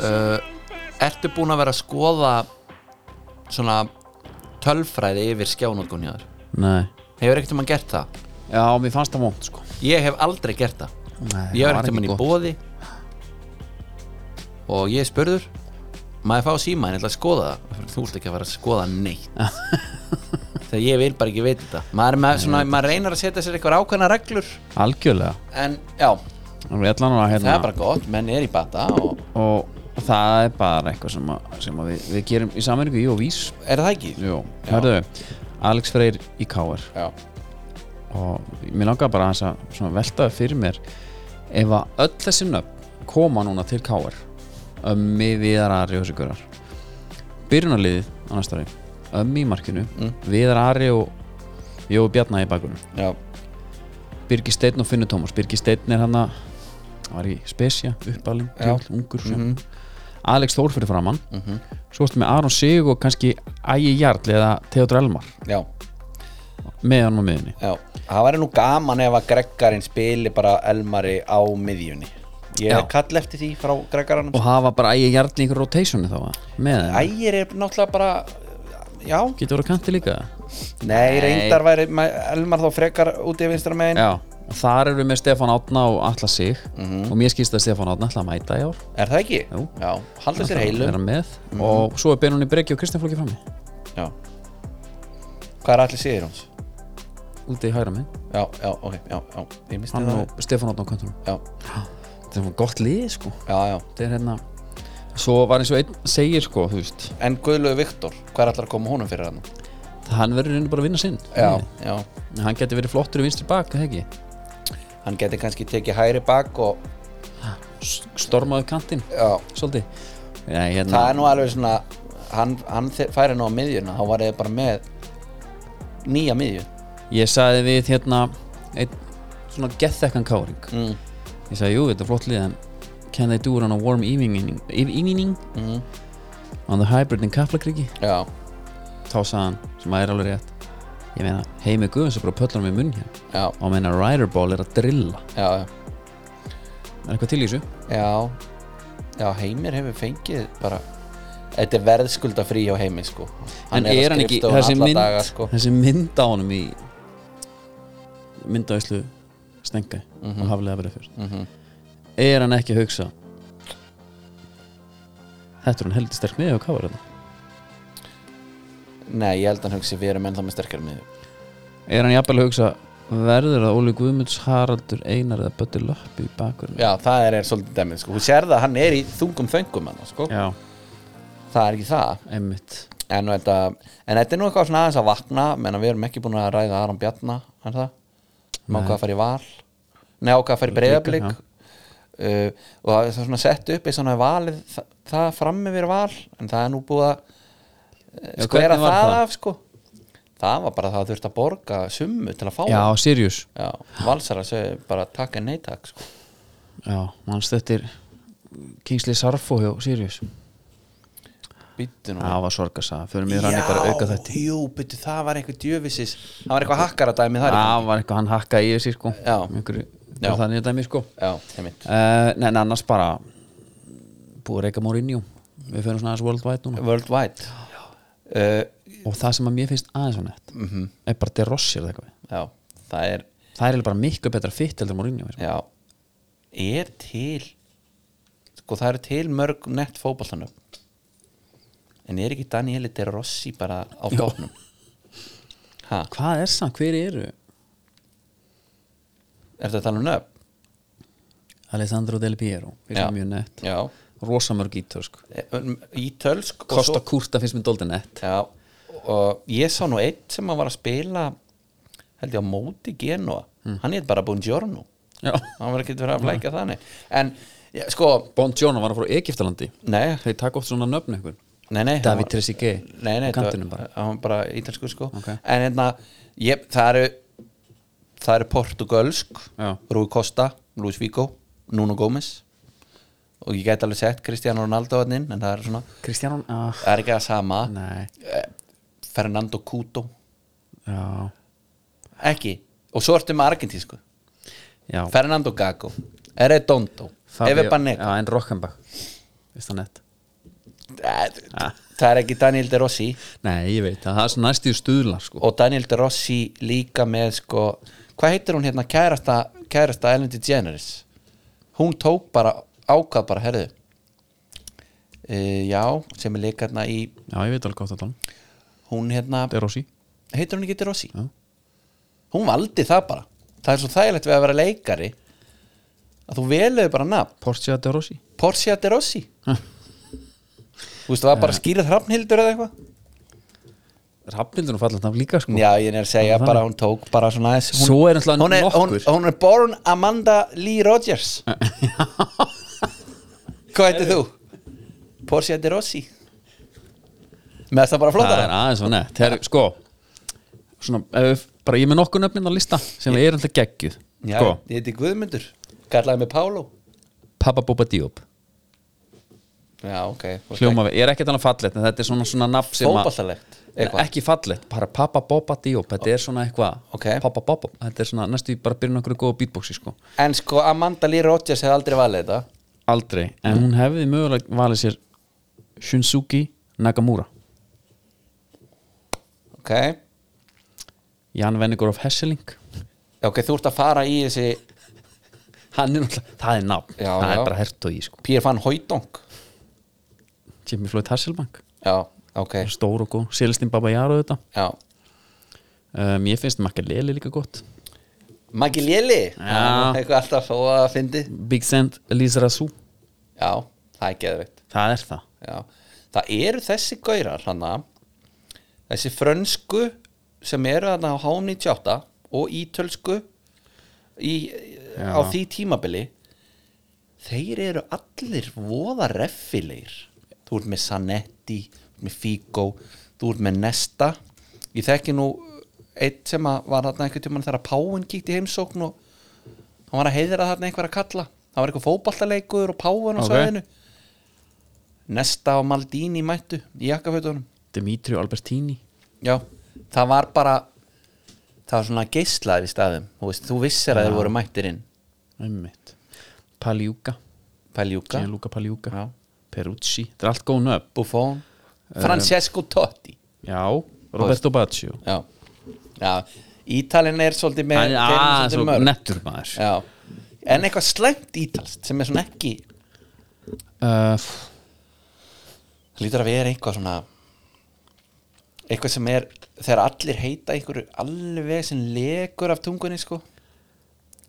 S2: Ertu búin að vera að skoða svona tölfræði yfir skjánótkun hjá þér?
S1: Nei.
S2: Hefur ekkert um að gert það?
S1: já, mér fannst það vond sko.
S2: Ég hef aldrei gert það
S1: Nei, það
S2: Ég var
S1: var
S2: ekkert um
S1: ekki
S2: í
S1: gott.
S2: bóði og ég er spurður maður fá síma en ég ætla að skoða það þú ert ekki að vera að skoða neitt
S1: [laughs]
S2: þegar ég vil bara ekki veit þetta maður, er með, svona, maður reynar að setja sér eitthvað ákveðna reglur
S1: algjörlega
S2: en já,
S1: Alveg allan að,
S2: það
S1: hérna,
S2: er bara gott menn er í bata og
S1: og það er bara eitthvað sem, að, sem að við, við gerum í samverningu í og vís
S2: er það ekki?
S1: Jú, hörðu, Alex Freyr í Káar
S2: Já.
S1: og mér langaði bara aðeins að svona velta upp fyrir mér ef að öll þessi nöfn koma núna til Káar ömmi viðar Ari og þessi görar byrjunarliðið á næsta ári ömmi í markinu, viðar Ari og Jói Bjarnar í bakunum
S2: Já.
S1: Birgir Steinn og Finnur Tómas Birgir Steinn er hann að var í Spesja, uppalinn, djúl, ungur mm Alex Þór fyrir framann svo ertu með Aron Sig og kannski Ægi Jarl eða Theodor Elmar
S2: Já.
S1: með hann á miðinni
S2: Já, það væri nú gaman ef að Greggarinn spili bara Elmari á miðjunni Ég
S1: Já.
S2: er kall eftir því frá Greggaranum
S1: og hafa bara Ægi Jarl í einhver rotationi þá að? með þeim,
S2: Ægir er náttúrulega bara Já,
S1: getur voru kanti líka
S2: nei, reyndar væri ma- Elmar þá frekar út í vinstra megin
S1: já, og þar eru við með Stefán Átna og Alla Sig
S2: Mhm.
S1: og mér skýrst að Stefán Átna ætla að mæta í ár
S2: Er það ekki?
S1: Jú.
S2: Já, halda sér
S1: Vera
S2: heilum Mhm.
S1: með, og svo er Benunni Breki og Kristján Flóki frammi
S2: Já Hvað er allir séður hans?
S1: úti í hæra með,
S2: Já, já, ok, já, já, ég misti
S1: hann
S2: það
S1: og Stefán Átna á kantunum
S2: Já,
S1: þetta er svona gott lið sko
S2: já, já
S1: þetta er hérna svo var eins og einn segir sko, þú veist
S2: En Guðlögu Viktor, hvað er allir að koma honum fyrir hann?
S1: hann verður henni bara að vinna sinn
S2: já, já.
S1: En hann geti verið flottur í vinstri bak, eða ekki
S2: hann geti kannski tekið hægri bak og
S1: S- stormaðu kantinn,
S2: já,
S1: svolítið Nei, hérna,
S2: það er nú alveg svona hann, hann þe- færi nú á miðjuna þá var þið bara með nýja miðju
S1: ég sagði við hérna einn svona gethekkan káring
S2: mm.
S1: ég sagði, jú, þetta er flott lið en can they do it on a warm evening, evening
S2: Mm.
S1: on the hybrid in Kaplakriki
S2: já,
S1: þá sagði hann, sem að er alveg rétt ég meina, heimi Guðins er bara pöllunum í munn hér
S2: já,
S1: og meina Riderball er að drilla
S2: já já,
S1: er eitthvað til í þessu?
S2: já, já heimir hefur fengið bara þetta er verðskulda frí hjá heimir sko
S1: en er, hann ekki, þessi mynd
S2: daga, sko.
S1: þessi mynd á honum í myndaðislu stengi og haflega verið fyrst er hann ekki að hugsa þetta er hann heldur sterk miðið og kafar þetta
S2: nei, ég held að hann hugsi við erum ennþá með sterkar miðju
S1: er hann jafnvel að hugsa verður að Óli Guðmunds Haraldur Einar eða Bötti Löppi í bakurinn
S2: já, það er, er svolítið dæmið sko hún sér það að hann er í þungum þöngum hann, sko.
S1: já,
S2: það er ekki það
S1: einmitt
S2: en, nú þetta, en þetta er nú eitthvað svona aðeins að vakna menn að við erum ekki búin að ræða Aron Bjarna er það? Má hvað að fara í val Nei, ákvað að fara í breyðablík
S1: já.
S2: uh, og það er svona sett upp í svona valið, það, það frammi við val en það er nú búið að
S1: Já,
S2: já, skvera
S1: hvernig var
S2: það,
S1: það?
S2: af sko það var bara það að þurfti að borga summu til að fá
S1: já,
S2: það.
S1: Sirius
S2: já valsara segir bara takk en nei takk sko.
S1: já, mannst þetta er Kingsley Sarfo hjá Sirius
S2: býttu nú
S1: það var sorgasa, fyrir mig rann eitthvað auka þetta
S2: jú, býttu, það var eitthvað djöfisis það var eitthvað hakkaradæmi þar í gangi.
S1: það var eitthvað hann hakkaði í þessi sko
S2: Já.
S1: einhverju,
S2: Já.
S1: bara þannig að dæmi sko uh,
S2: já, heimitt
S1: nei, en annars bara búið að reyka Mourinho við fyrir svona aðeins worldwide núna
S2: Worldwide uh,
S1: og það sem að mér finnst aðeins á nett
S2: Mhm.
S1: -hmm. er bara De Rossi eða eitthvað
S2: Já, það er
S1: það er eiginlega bara miklu betra fitt heldur en Mourinho sko.
S2: já, er til sko það eru til mörg nett fótboltanum en er ekki Danieli De Rossi bara á bóknum ha,
S1: hvað er það, hver eru
S2: er þetta að tala um nöfn?
S1: Alessandro Del Piero, finnst
S2: Já.
S1: mér mjög nett
S2: Já,
S1: rosamörg ítörsk
S2: Eh, ítölsk um, og
S1: Kosta
S2: svo-
S1: Kurta sko. finnst mér dóldi nett
S2: Já, og ég sá nú einn sem að var að spila held ég á móti Genoa hann heit bara Buongiorno
S1: Já.
S2: hann var ekki verið að flækja þannig en já, sko,
S1: Bond Jóna var að frá Egiptalandi
S2: nei
S1: þeir taka oft svona nöfn ykkur
S2: Nei, nei,
S1: David
S2: hann var-
S1: Trezeguet
S2: Nei,
S1: á
S2: nei,
S1: kantinum bara.
S2: það var bara ítalsku sko
S1: Ok.
S2: En hérna, ég, það eru Það eru portugalsk
S1: Já.
S2: Rúi Costa, Luis Vigo Nuno Gómez Og ég gæti alveg sett Cristiano Ronaldo hann inn En það er svona,
S1: Kristján, ah,
S2: það er ekki að sama Eh,
S1: nei
S2: Fernando Couto
S1: já,
S2: Ekki, og svo ertu með argentísku
S1: já
S2: Fernando Gago Eredondo,
S1: Fabio-
S2: Eve Banega
S1: Já, en Rockenbach Veist það nett
S2: Eh, Það er ekki Daniel De Rossi
S1: Nei, ég veit, það það er svona næstíð stuðlar sko.
S2: og Daniel De Rossi líka með sko, hvað heitir hún hérna kærasta, kærasta Ellen DeGeneres hún tók bara ákvað bara herðu e, já, sem er líka hérna í
S1: Já, ég veit alveg hvað það tala um.
S2: hún hérna,
S1: Þetta er Rossi
S2: heitir hún ekki De Rossi
S1: Já.
S2: hún valdi það bara það er svo þægilegt við að vera leikari að þú veluðu bara nafn
S1: Porsche de Rossi
S2: Portia De Rossi þú veist, það var bara skýrað hrafnhildur eða eitthvað
S1: Rappmyndunum fallast af líka sko.
S2: Já, ég er að segja
S1: Þannig.
S2: bara, hún tók bara svona aðeins hún,
S1: Svo er náttúrulega
S2: hún er, hún,
S1: nokkur.
S2: hún er born Amanda Lee Rogers
S1: [laughs]
S2: Hvað heitir þú? Portia de Rossi Með það
S1: Það
S2: bara
S1: er
S2: flottar
S1: aðeins og nett Þegar, sko svona, ef, við- Bara ég er með nokkur nöfnin á lista sem er alltaf geggjuð
S2: Já,
S1: sko,
S2: ég heiti Guðmundur Kallaði mig Pálo
S1: Papa Búba Diop
S2: Já, ok þú ert
S1: Hljóma við, ég er ekkert annað fallett en þetta er svona, svona nafn
S2: ekki-
S1: sem að-
S2: Fótboltalegt eitthvað.
S1: Ekki fallett, bara Papa Búba Diop Þetta er svona eitthvað
S2: Ok.
S1: Papa Búba Þetta er svona næstu í bara byrjun okkur góða beatboxi sko.
S2: En sko, Amanda Lee Rogers hefði aldrei valið þetta
S1: Aldrei, en hún hefði mögulega valið sér Shunsuki Nakamura
S2: Ok
S1: Jan Vennegur of Hesseling
S2: Ok, þú ert að fara í þessi
S1: Hann er náttúrulega, það er nafn
S2: Já,
S1: Það
S2: já.
S1: er bara hert og í sko
S2: Pír van Hóidong
S1: Jimmy Floyd Hasselbank,
S2: Já, ok
S1: stór og góð Sélestin Baba Jaro þetta
S2: Já
S1: um, Ég finnst Makka Leli líka gott
S2: Maggi Léli
S1: Já.
S2: eitthvað alltaf svo að fyndi
S1: Big Sand Elisa Rassou
S2: já, það er geðveikt
S1: Það er það
S2: já. það eru þessi gaurar hana þessi frönsku sem eru þarna á háni 28 og ítölsku í, á því tímabili þeir eru allir voða reffilegir þú ert með Sanetti þú ert með Figo, þú ert með Nesta ég þekki nú eitt sem að var þarna einhvern tímann þegar Páin kíkti í heimsókn og hann var að heiðra þarna einhver að kalla það var eitthvað fótballaleikur og Páin á
S1: Ok.
S2: svæðinu Nesta og Maldini mættu í jakkafötunum
S1: Dimitri Albertini
S2: Já, það var bara það var svona geislaðir í staðum þú, veist, þú vissir að þeir voru mættir inn
S1: einmitt. Paljúka
S2: Paljúka,
S1: Gianluca Paljúka
S2: Já.
S1: Perucci, þetta er allt góð nöfn
S2: Buffon
S1: Eh.
S2: Francesco Totti
S1: Já, Roberto Baggio
S2: Já, já Ítalin er svolítið með
S1: Hann er
S2: þeir eru
S1: aðeins
S2: svolítið
S1: og
S2: mörg.
S1: nettur maður
S2: Já, en eitthvað slæmt ítalst sem er svona ekki
S1: uh, f-
S2: það lítur að vera eitthvað svona eitthvað sem er þegar allir heita einhverju alveg sem legur af tungunni sko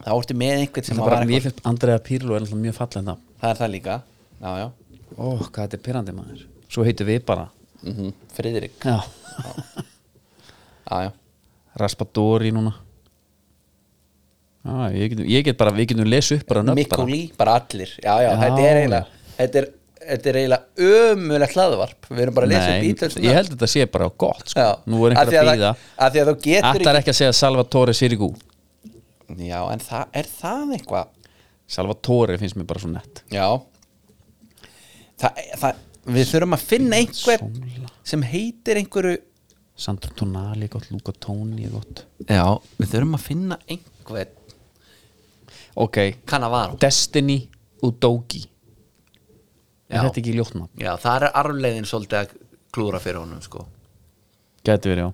S2: þá ertu með einhvern sem
S1: Það
S2: að
S1: bara
S2: var
S1: mér
S2: eitthvað
S1: finnst Andrea Pirlo er alltaf mjög fallið nafn
S2: það er það líka, já já
S1: Ó, hvað þetta er pirrandi maður Svo heitum við bara
S2: mm
S1: Mhm.
S2: Friðrik,
S1: Já,
S2: já já
S1: Raspadori núna Já, ég get, ég get bara, við getum lesu upp bara nöfn bara
S2: Mikkoli, bara allir já, já,
S1: Já.
S2: þetta er eiginlega þetta er, þetta er eiginlega ömulegt hlaðvarp við erum bara að lesa upp
S1: Nei,
S2: ítlöfst
S1: ég held að þetta sé bara gott sko. Nú er einhver að býða
S2: að því að þú getur
S1: Ætlar ekki að segja Salvatore Sirigu
S2: ekki já, en það er það eitthvað
S1: Salvatore finnst mér bara svo nett
S2: já það, það, við þurfum að finna einhver
S1: Sóla.
S2: sem heitir einhverju
S1: Sandro Tonali er gott, Luca Toni er gott
S2: já, við þurfum að finna einhver
S1: Ok,
S2: Cannavaro
S1: Destiny Udogi Er
S2: Já.
S1: þetta ekki ljótna?
S2: já, það er arflegin svolítið að klúra fyrir honum sko
S1: Gæti verið, já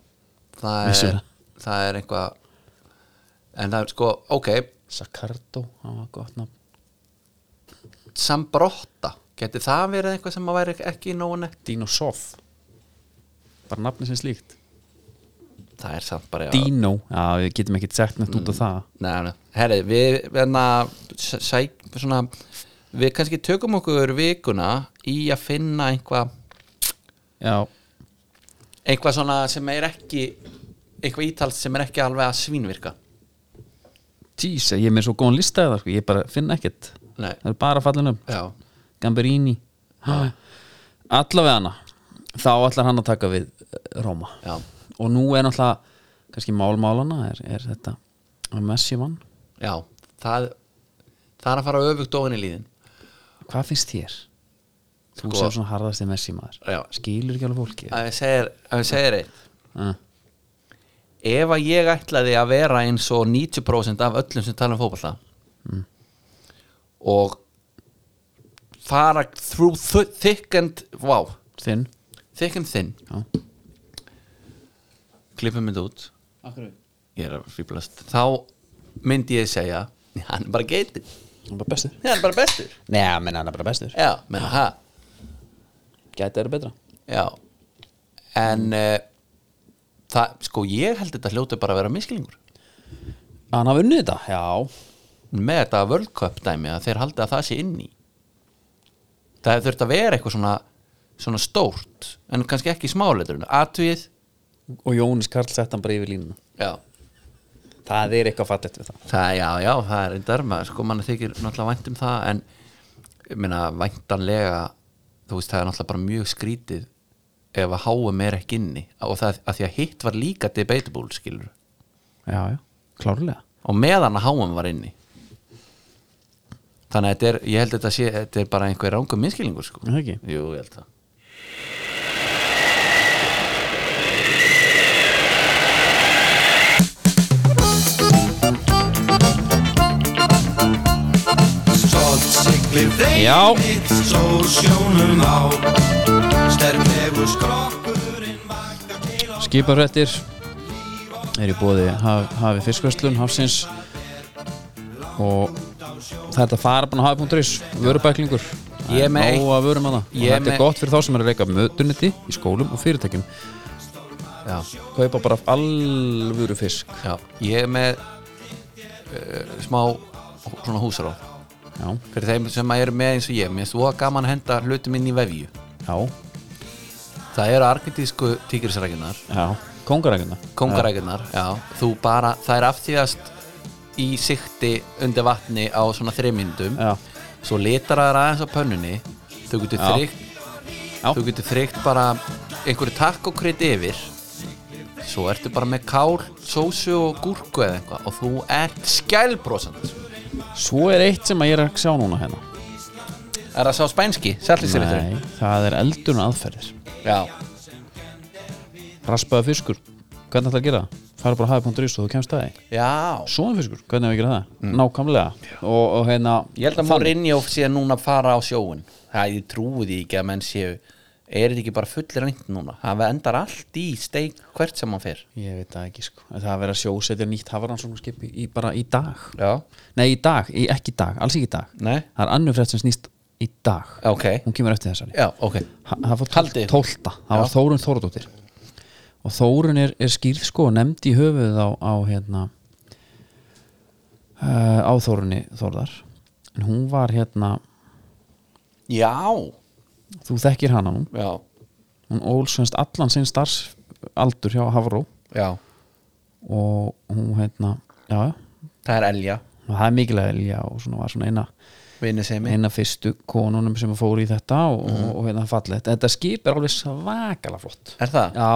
S2: það
S1: Vissu
S2: er,
S1: það.
S2: það er eitthvað en það er sko, ok
S1: Sakardo, það var gott nafn
S2: Sambrotta Geti það verið eitthvað sem að væri ekki nógu nett
S1: Dino Sof Bara nafni sem slíkt
S2: Það er samt bara
S1: Dino, já Mm. við getum ekkert sett neitt út á það
S2: Nei, nei. Herri, við verðna sæk, svona, Við kannski tökum okkur vikuna í að finna eitthvað
S1: Já,
S2: eitthvað svona sem er ekki eitthvað ítalst sem er ekki alveg að svínvirka
S1: jeez, ég er með svo góðan lista eða sko, ég bara finn ekkert
S2: Nei,
S1: Það er bara fallin um
S2: já,
S1: Gamberini [gasps] Allavega hana Þá ætlar hann að taka við eh, Róma
S2: Já.
S1: Og nú er náttúrulega kannski málmálana er, er þetta að Messi vann
S2: já það, það er að fara öfugt ofan í líðin
S1: Hvað finnst þér? Þú
S2: Sko-
S1: sem svona harðasti Messi maður
S2: Já.
S1: Skilur ekki alveg fólki
S2: að við segir, að við segir eitt
S1: uh,
S2: ef að ég ætlaði að vera eins og 90% af öllum sem tala um fótballa og fara through th thick and wow,
S1: Þinn
S2: thick and thin
S1: Já.
S2: klippum mynd út Akkur. ég er að fýblast þá myndi ég segja hann er bara geitin,
S1: Hann er bara bestur
S2: hann er bara bestur
S1: Nei, ég meina hann er bara bestur
S2: já, menn það
S1: Gæti eru betra
S2: Já En uh, það, sko, ég held þetta hljóti bara að vera miskilingur
S1: Hann hafa unnið þetta, já
S2: með þetta World Cup dæmi að þeir haldi að það sé inn í Það hefði þurft að vera eitthvað svona svona stórt, en kannski ekki smáleiturinn Atvíð
S1: Og Jónis Karl sett hann bara yfir línuna
S2: Já,
S1: Það er eitthvað fallegt við það
S2: það, já, já, það er reyndar maður, sko, mann þykir náttúrulega vænt um það en, ég meina, væntanlega þú veist, það er náttúrulega bara mjög skrítið ef að háum er ekki inni og það að því að hitt var líka debatable, skilur
S1: Já, já, klárlega
S2: og meðan að háum var inni þannig að þetta er, ég held að þetta sé þetta er bara einhver rángum minnskilningur sko.
S1: Er það ekki?
S2: Jú, ég held það
S1: Já, skiparrættir er í bóði haf, hafi fiskvöslun, hafsins og það er þetta farabana hafi.is vörubæklingur
S2: Ég er með
S1: Nóa vörum hana og
S2: ég er
S1: þetta
S2: með-
S1: er gott fyrir þá sem er að reyka mötuniti í skólum og fyrirtækjum
S2: já,
S1: kaupa bara alvöru fisk
S2: já, ég er með uh, smá svona húsará
S1: Já,
S2: fyrir þeim sem eru með eins og ég mér finnst þú gaman að henda hlutum inn í vefju
S1: já,
S2: Þá það eru argentísku tígrisrækjunar
S1: Já, kongarækjuna
S2: kongarækjunar, já. þú bara, það er aftíðast í sikti undir vatni á svona þreymyndum
S1: Já,
S2: svo litar það aðeins á pönnunni þú getur
S1: Já.
S2: þreykt
S1: Já.
S2: þú getur þreykt bara einhverju takkokrit yfir svo ertu bara með kál, sósu og gúrku eða eitthvað og þú ert skælbrósand
S1: svo er eitt sem að ég er að sjá núna hérna
S2: er það sá spænski, sællisirritur
S1: Nei, það er eldurna aðferðir
S2: já,
S1: Raspaða fiskur, hvernig ætlar að gera það? Fara bara að hafa.is og þú kemst að því
S2: já
S1: Svona fiskur, hvernig á ég að gera það?
S2: Mm.
S1: Nákvæmlega og, og hérna
S2: Ég held
S1: þannig.
S2: að Mourinho sé núna að fara á sjóun Það ég trúi því ekki að menn séu Er þetta ekki bara fullir reynd núna Það endar allt í steik hvert sem hann fer
S1: Ég veit það ekki sko, það er að vera að sjósetja nýtt hafaransóknarskip í, í, bara í dag
S2: Já,
S1: Nei, í dag, í, ekki í dag, alls ekki í dag
S2: Nei.
S1: Það er annur frétt sem snýst í dag
S2: ok,
S1: Hún kemur eftir þessari
S2: já, ok
S1: Ha- það fór
S2: Haldið.
S1: 12. það var Þórun Þórdóttir og Þórun er, er skýrð sko nefnd í höfuð á, á hérna uh, á Þórunni Þórðar en hún var hérna
S2: Já,
S1: þú þekkir hana nú,
S2: já,
S1: hún ólsvenst allan sinn starfs aldur hjá Havró
S2: já
S1: og hún hérna, já, já,
S2: Það er Elja,
S1: og það er mikilvæg Elja og svona var svona eina
S2: vinnu semi
S1: eina fyrstu konunum sem fóru í þetta og,
S2: Mhm.
S1: og, og hérna fallið, þetta skip er alveg svakala flott
S2: Er það?
S1: já,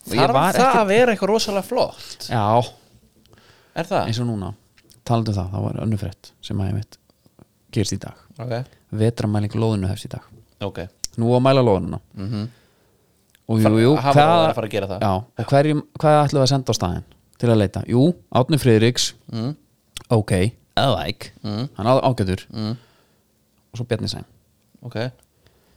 S1: Og ég
S2: Þarf
S1: var
S2: það
S1: ekkert-
S2: að vera eitthvað rosalega flott
S1: já,
S2: Er það?
S1: eins og núna talandi um það, það var önnur frétt sem að ég mitt gerist í dag
S2: Ok,
S1: vetramæling loðinu hefst í dag
S2: ok
S1: nú á að mæla loðinuna
S2: Mhm.
S1: og jú,
S2: Fara-
S1: jú
S2: hafa
S1: hvað-
S2: það að fara að gera það.
S1: já, og hverjum, hvað ætlum við að senda á staðin til að leita, jú, Átni Friðriks mm. ok, I like hann á, ágætur mm. og svo Bjarni Sæn
S2: Ok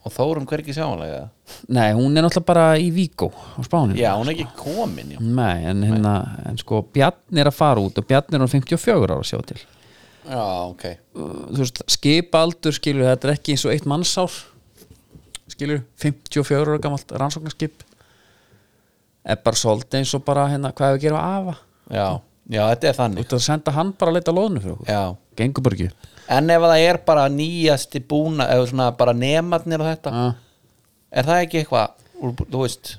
S2: Og Þórum hver ekki sjáanlega
S1: nei, hún er náttúrulega bara í Víkó á Spáni
S2: Já, hún er ekki komin já.
S1: nei, en, hérna, en sko Bjarni er að fara út og Bjarni er á 54 ára að sjá til Uh,
S2: já, ok
S1: þú veist, skipaldur skilur þetta er ekki eins og eitt mannsár skilur, 54 ára gamalt rannsóknarskip er bara svolítið eins og bara hérna hvað hefur að gera á afa,
S2: Já, já, þetta er
S1: þú
S2: þannig
S1: ert að senda hann bara að leita loðinu fyrir okkur,
S2: Já
S1: gengur bara ekki upp.
S2: En ef það er bara nýjasti búna eða svona bara nematnir og þetta
S1: Ah,
S2: er það ekki eitthvað, úr- þú veist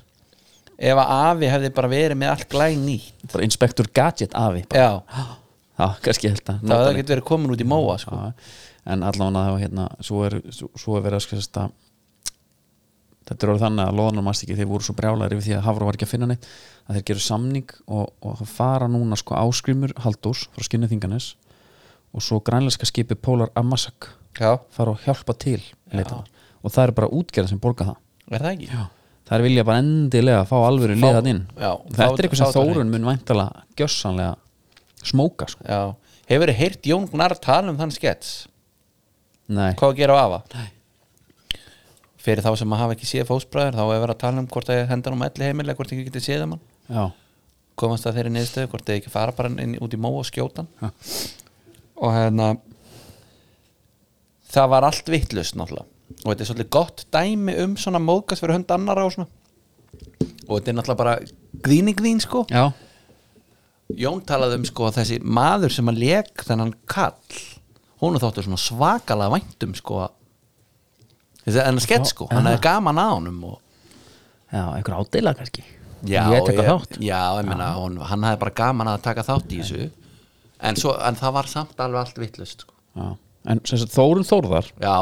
S2: ef að afi hefði bara verið með allt glæn nýtt
S1: bara inspektur gadget afi bara.
S2: Já,
S1: [gasps] já, kannski ég held að
S2: það
S1: nota
S2: hefði
S1: mig.
S2: ekki verið komin út í móa sko.
S1: Já, en allan að það var hérna svo er, svo, svo er verið að skrifast að þetta er orðið þannig að loðanum mannst ekki þeir voru svo brjálæðir yfir því að Hafró var ekki að finna neitt að þeir geru samning og, og það fara núna sko áskrimur Haldús frá Skinniþinganes og svo grænleiska skipi Pólar Amasak
S2: Já,
S1: fara og hjálpa til leitaðar og það er bara útgerðin sem borga það
S2: er það ekki?
S1: Já. það er vilja bara endilega að fá alvöru liðan inn
S2: já,
S1: þetta
S2: fá-
S1: er eitthvað sem
S2: fá það
S1: Þórun mun væntalega gjössanlega smóka sko
S2: Já. Hefur þið heyrt Jón Gnarr tala um þann skets
S1: Nei.
S2: hvað að gera á afa? Nei. Fyrir þá sem að hafa ekki séð fósbræður þá hefur verið að tala um hvort það hendan um elli heimilega hvort ekki getið séð um hann
S1: Já.
S2: komast að þeirri niðurstöðu hvort þið ekki fara bara inn, út í móa og skjótan ha. og hérna það var allt vittlust náttúrulega og þetta er svolítið gott dæmi um svona móðgast fyrir hönd annara og svona og þetta er náttúrulega bara gríni grín sko
S1: Já.
S2: Jón talaði um sko að þessi maður sem að leik þennan kall hún þóttu svona svakalega væntum sko að- þessi en að skett sko, hann
S1: Já.
S2: hefði gaman að honum og
S1: Já, einhver ádeila kannski
S2: Já,
S1: Ég tek að þátt
S2: Já, ég meina, hún, hann hafði bara gaman að taka þátt í þessu en, svo, en það var samt alveg allt vittlust sko.
S1: já. En sem sagt, Þórun Þórðar
S2: Já,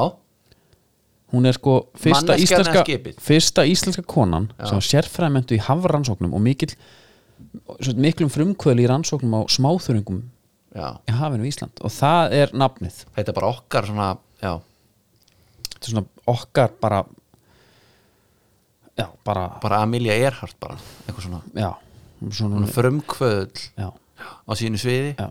S1: Hún er sko fyrsta
S2: Manneskjan eða
S1: íslenska,
S2: skipið?
S1: fyrsta íslenska konan sem var sérfræðmentu í hafrannsóknum og mikill svo, miklum frumkvöli í rannsóknum á smáþurringum
S2: já,
S1: í hafinu í Ísland og það er nafnið
S2: þetta er bara okkar svona Já,
S1: Þetta er svona okkar bara Já, bara
S2: bara Amelia Earhart bara, eitthvað svona
S1: Já, svona,
S2: Hún er frumkvöðl
S1: já,
S2: á sínu sviði
S1: já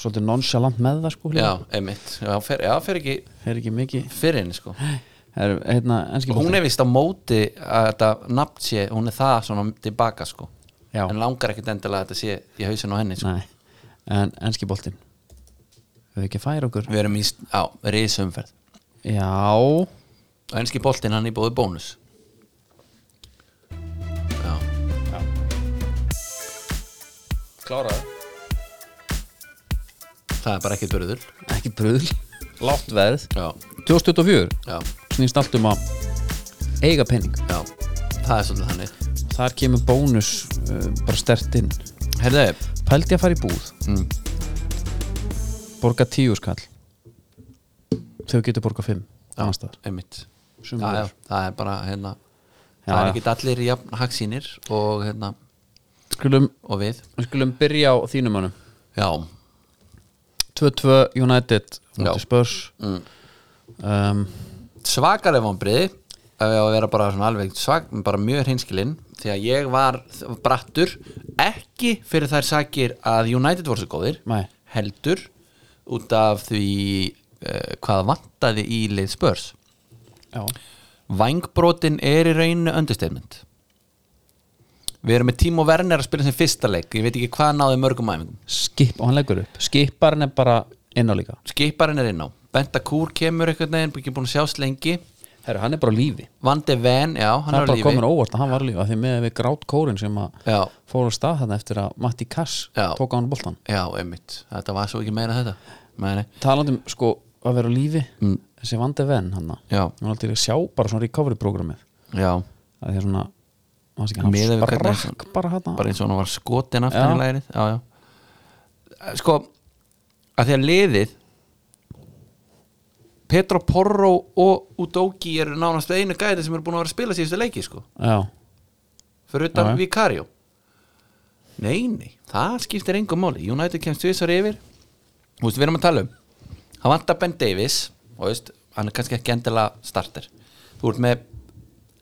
S1: Svolítið nonchalant með það sko
S2: Já, einmitt, já, fer, já, fer ekki
S1: Er ekki mikið
S2: fyrir henni sko
S1: er, hérna, enski
S2: Og hún
S1: boltinn.
S2: er vist á móti að þetta nafn sé, hún er það svona tilbaka sko
S1: Já.
S2: En langar ekkit endilega að þetta sé í hausinu á henni sko.
S1: Nei, en enski boltinn Við ekki að færa okkur
S2: Við erum í, á, risumferð
S1: Já,
S2: og ennski boltinn hann í bóði bónus Já Kláraði Það er bara ekkert börður
S1: ekki bröðl Látt verð
S2: Já,
S1: 2024
S2: já,
S1: snýst allt um að eiga penning
S2: já það er svolítið þannig
S1: þar kemur bónus uh, bara stert inn
S2: Herðu,
S1: pældi að fara í búð
S2: Mm.
S1: borga tíu skall þau getur borga fimm annars staðar
S2: einmitt
S1: Sumir
S2: Já, já,
S1: eru.
S2: það er bara hérna
S1: Já,
S2: það
S1: já.
S2: er ekki allir jafn hagsýnir og hérna
S1: skulum,
S2: og við
S1: við skulum byrja á þínum önum
S2: já,
S1: 2-2 United
S2: Já. Mm.
S1: móti Spurs um,
S2: svakaleg vonbrið að við á að vera bara svona alveg svak, bara mjög hinskilinn því að ég var þ- brattur ekki fyrir þær sakir að United voru svo góðir
S1: Nei.
S2: heldur út af því uh, hvað vantaði í lið spörs
S1: já,
S2: Vangbrotin er í rauninu understatement Við erum með Timo Werner að spila sem fyrsta leik Ég veit ekki hvað náði mörgum æfingum
S1: skip, og hann leggur upp skiparinn er bara inn á líka
S2: Skiparinn er inn á Benta Kúr kemur einhvern veginn Ekki búin að sjást lengi
S1: Herru, hann er bara á lífi
S2: Vandi Ven, já, hann
S1: það
S2: er
S1: er
S2: á
S1: bara
S2: lífi
S1: komin á óvart að hann var á lífi af því með við grátt kórin sem að
S2: Já.
S1: fór á stað þarna eftir að Matti Kass
S2: Já.
S1: tók á hann boltan
S2: Já, einmitt, þetta var svo ekki meira þetta Meni.
S1: talandi um sko að vera á lífi þessi vandi venn hann
S2: Mm. Já.
S1: hann er aldrei að sjá bara svona recovery programmið
S2: Já,
S1: að því að svona hann sé
S2: Miðað
S1: ekki
S2: við
S1: hann
S2: hvernig
S1: sprakk
S2: hann-
S1: bara hann
S2: bara eins og hann var skotin aftan
S1: Já.
S2: í lærið Já, já Sko, að því að liðið Petro Porro og Udogi eru nánast einu gæði sem eru búin að vera að spila síðustu leiki sko
S1: já,
S2: fyrir utan
S1: Já, já.
S2: Vicario Nei, nei, það skiptir engum máli United kemst tvisar yfir Þú veist, við erum að tala um Hann vantar Ben Davis og þú veist, hann er kannski ekki endilega starter Þú ert með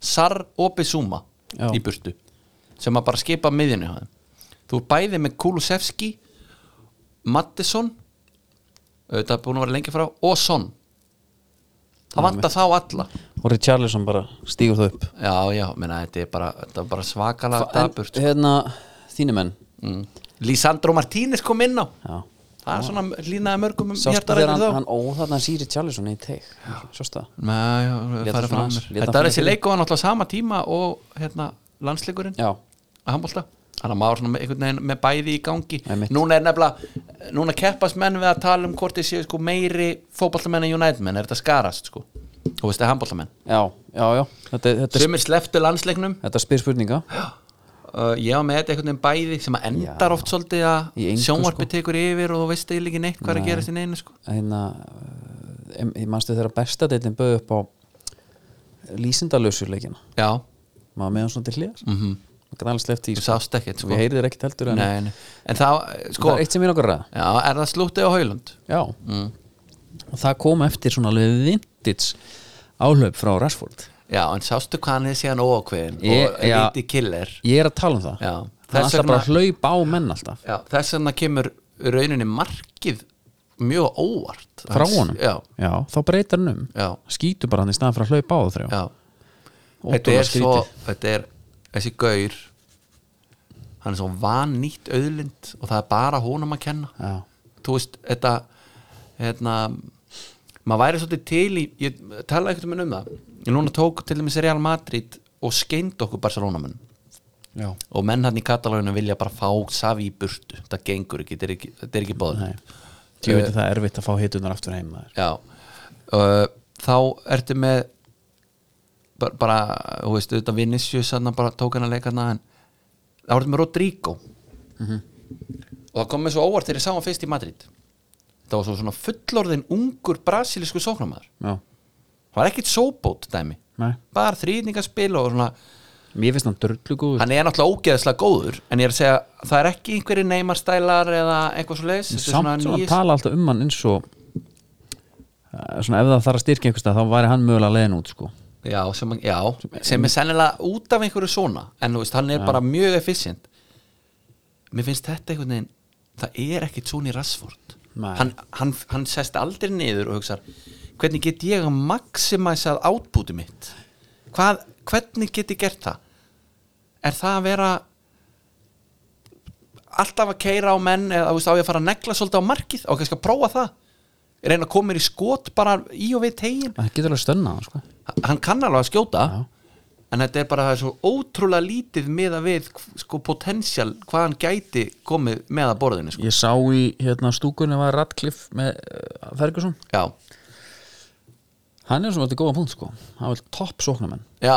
S2: Sar og Bissúma
S1: Já.
S2: í burtu sem að bara skipa miðinu hjá þeim. Þú ert bæði með Kulusevski Mattisson auðvitað búin að vera lengi frá og Son Það vantar þá alla
S1: og Richarlison bara stígur það upp
S2: Já, já, menna, þetta er bara, þetta er bara svakala daburt
S1: en, hérna þínu menn
S2: Lísandro Mm. Martínez kom inn á
S1: já
S2: það er svona línaði mörgum um
S1: Sástu þegar hann,
S2: hjartarættir
S1: hann óþarna síri Charlison í teik Sástu það? Lét hann svona aðeins- lét hann
S2: þetta
S1: fara
S2: er þessi
S1: fyrir.
S2: leik og hann alltaf sama tíma og hérna, landsleikurinn
S1: Já,
S2: að handbólta þannig að maður svona með, einhvern veginn með bæði í gangi
S1: Einmitt.
S2: núna er nefnilega, núna keppast menn við að tala um hvort þið séu sko meiri fótballamenn en United menn, er þetta skarast sko þú veist það er handbóltamenn
S1: já, já, já Þetta, er- þetta,
S2: sem er sleftu landsleiknum
S1: er- þetta spyr spurninga
S2: uh, ég á með þetta einhvern veginn bæði sem að endar oft svolítið
S1: Í
S2: að
S1: engu,
S2: sjónvarpi
S1: sko.
S2: tekur yfir og þú veist eiginlega ekki neitt hvað er að gerast í neinu sko
S1: Hérna, eh, em- ég manstu þegar besta deitin bauð upp á lýsindalösu leikina
S2: já,
S1: maður með hann svona til hliðar mm -hmm. maður gæti alveg sleppt í
S2: þú
S1: sko.
S2: sást ekkert Mhm. sko.
S1: við heyrið þér ekkert heldur en
S2: nei, nei. en þá, sko
S1: það er eitt sem ég nokkur ræða
S2: já, er það slútið á Haulund
S1: já
S2: Mm.
S1: og það kom eftir svona alveg vintage áhlaup frá Rashford
S2: já, en sástu hvað hann er síðan óákveðin
S1: Ég-
S2: og
S1: já.
S2: lítið killer
S1: ég er að tala um það
S2: Já.
S1: það er
S2: Þess
S1: alltaf bara
S2: vegna-
S1: að hlaupa á menn alltaf
S2: já, þess vegna kemur rauninni markið mjög óvart
S1: frá
S2: Hans-
S1: honum
S2: já,
S1: þá breytar hann um
S2: Já.
S1: skýtur bara hann í staðan fyrir að hlaupa á það þrjá
S2: já. þetta
S1: Ótrúlega
S2: er svo
S1: skrítið.
S2: þetta er, þessi gaur hann er svo vannýtt auðlind og það er bara honum að kenna
S1: já.
S2: þú veist, þetta hérna, maður væri svolítið til í, ég talaði ekkert um enn um það ég núna tók til dæmis Real Madrid og skeind okkur Barcelona menn
S1: Já.
S2: og menn hann í katalóginu vilja bara fá Savi í burtu, það gengur ekki, þetta er ekki, þetta er ekki bóðin Eh,
S1: ég veit að það er erfitt að fá hitunar aftur heim maður.
S2: já, uh, þá ertu með bara, bara þú veist, auðvitað Vinicius hann bara tók hann að leika hann en þá ertu með Rodrigo
S1: Mhm.
S2: og það kom mér svo óvart þegar ég sá hann fyrst í Madrid það var svo svona fullorðin ungur brasilisku sóknarmæður
S1: já,
S2: það var ekkit sóbót dæmi
S1: nei
S2: bara þrýningaspil og svona
S1: mér finnst hann dörlu góður
S2: hann er náttúrulega ógeðslega góður en ég er að segja, það er ekki einhverjir neymarstælar eða eitthvað svo leis
S1: samt sem hann tala alltaf um hann eins og eh, svona ef það þarf að styrkja einhverstað þá væri hann mögulega leiðin út sko.
S2: já, sem, já, sem er sennilega út af einhverju svona en þú veist, hann er bara mjög efficient mér finnst þetta einhvern veginn það er ekkit svona í Rassford
S1: Nei.
S2: hann, hann, hann sest aldrei niður og hugsar hvernig get ég að maximæsað átbúti mitt Hvað, hvernig get ég gert það er það að vera alltaf að keira á menn eða þú veist, á ég að fara að negla svolítið á markið og kannski að prófa það reyna að koma mér í skot bara í og við tegin
S1: það getur alveg stönnað hann, sko.
S2: hann kann alveg að skjóta
S1: Já.
S2: en þetta er bara það er svo ótrúlega lítið með að við sko potensial hvað hann gæti komið með að borðinu sko.
S1: ég sá í hérna, stúkunni var Radcliffe með uh, Ferguson
S2: já,
S1: hann er svona þetta góða punkt sko hann vil topp sóknamenn
S2: já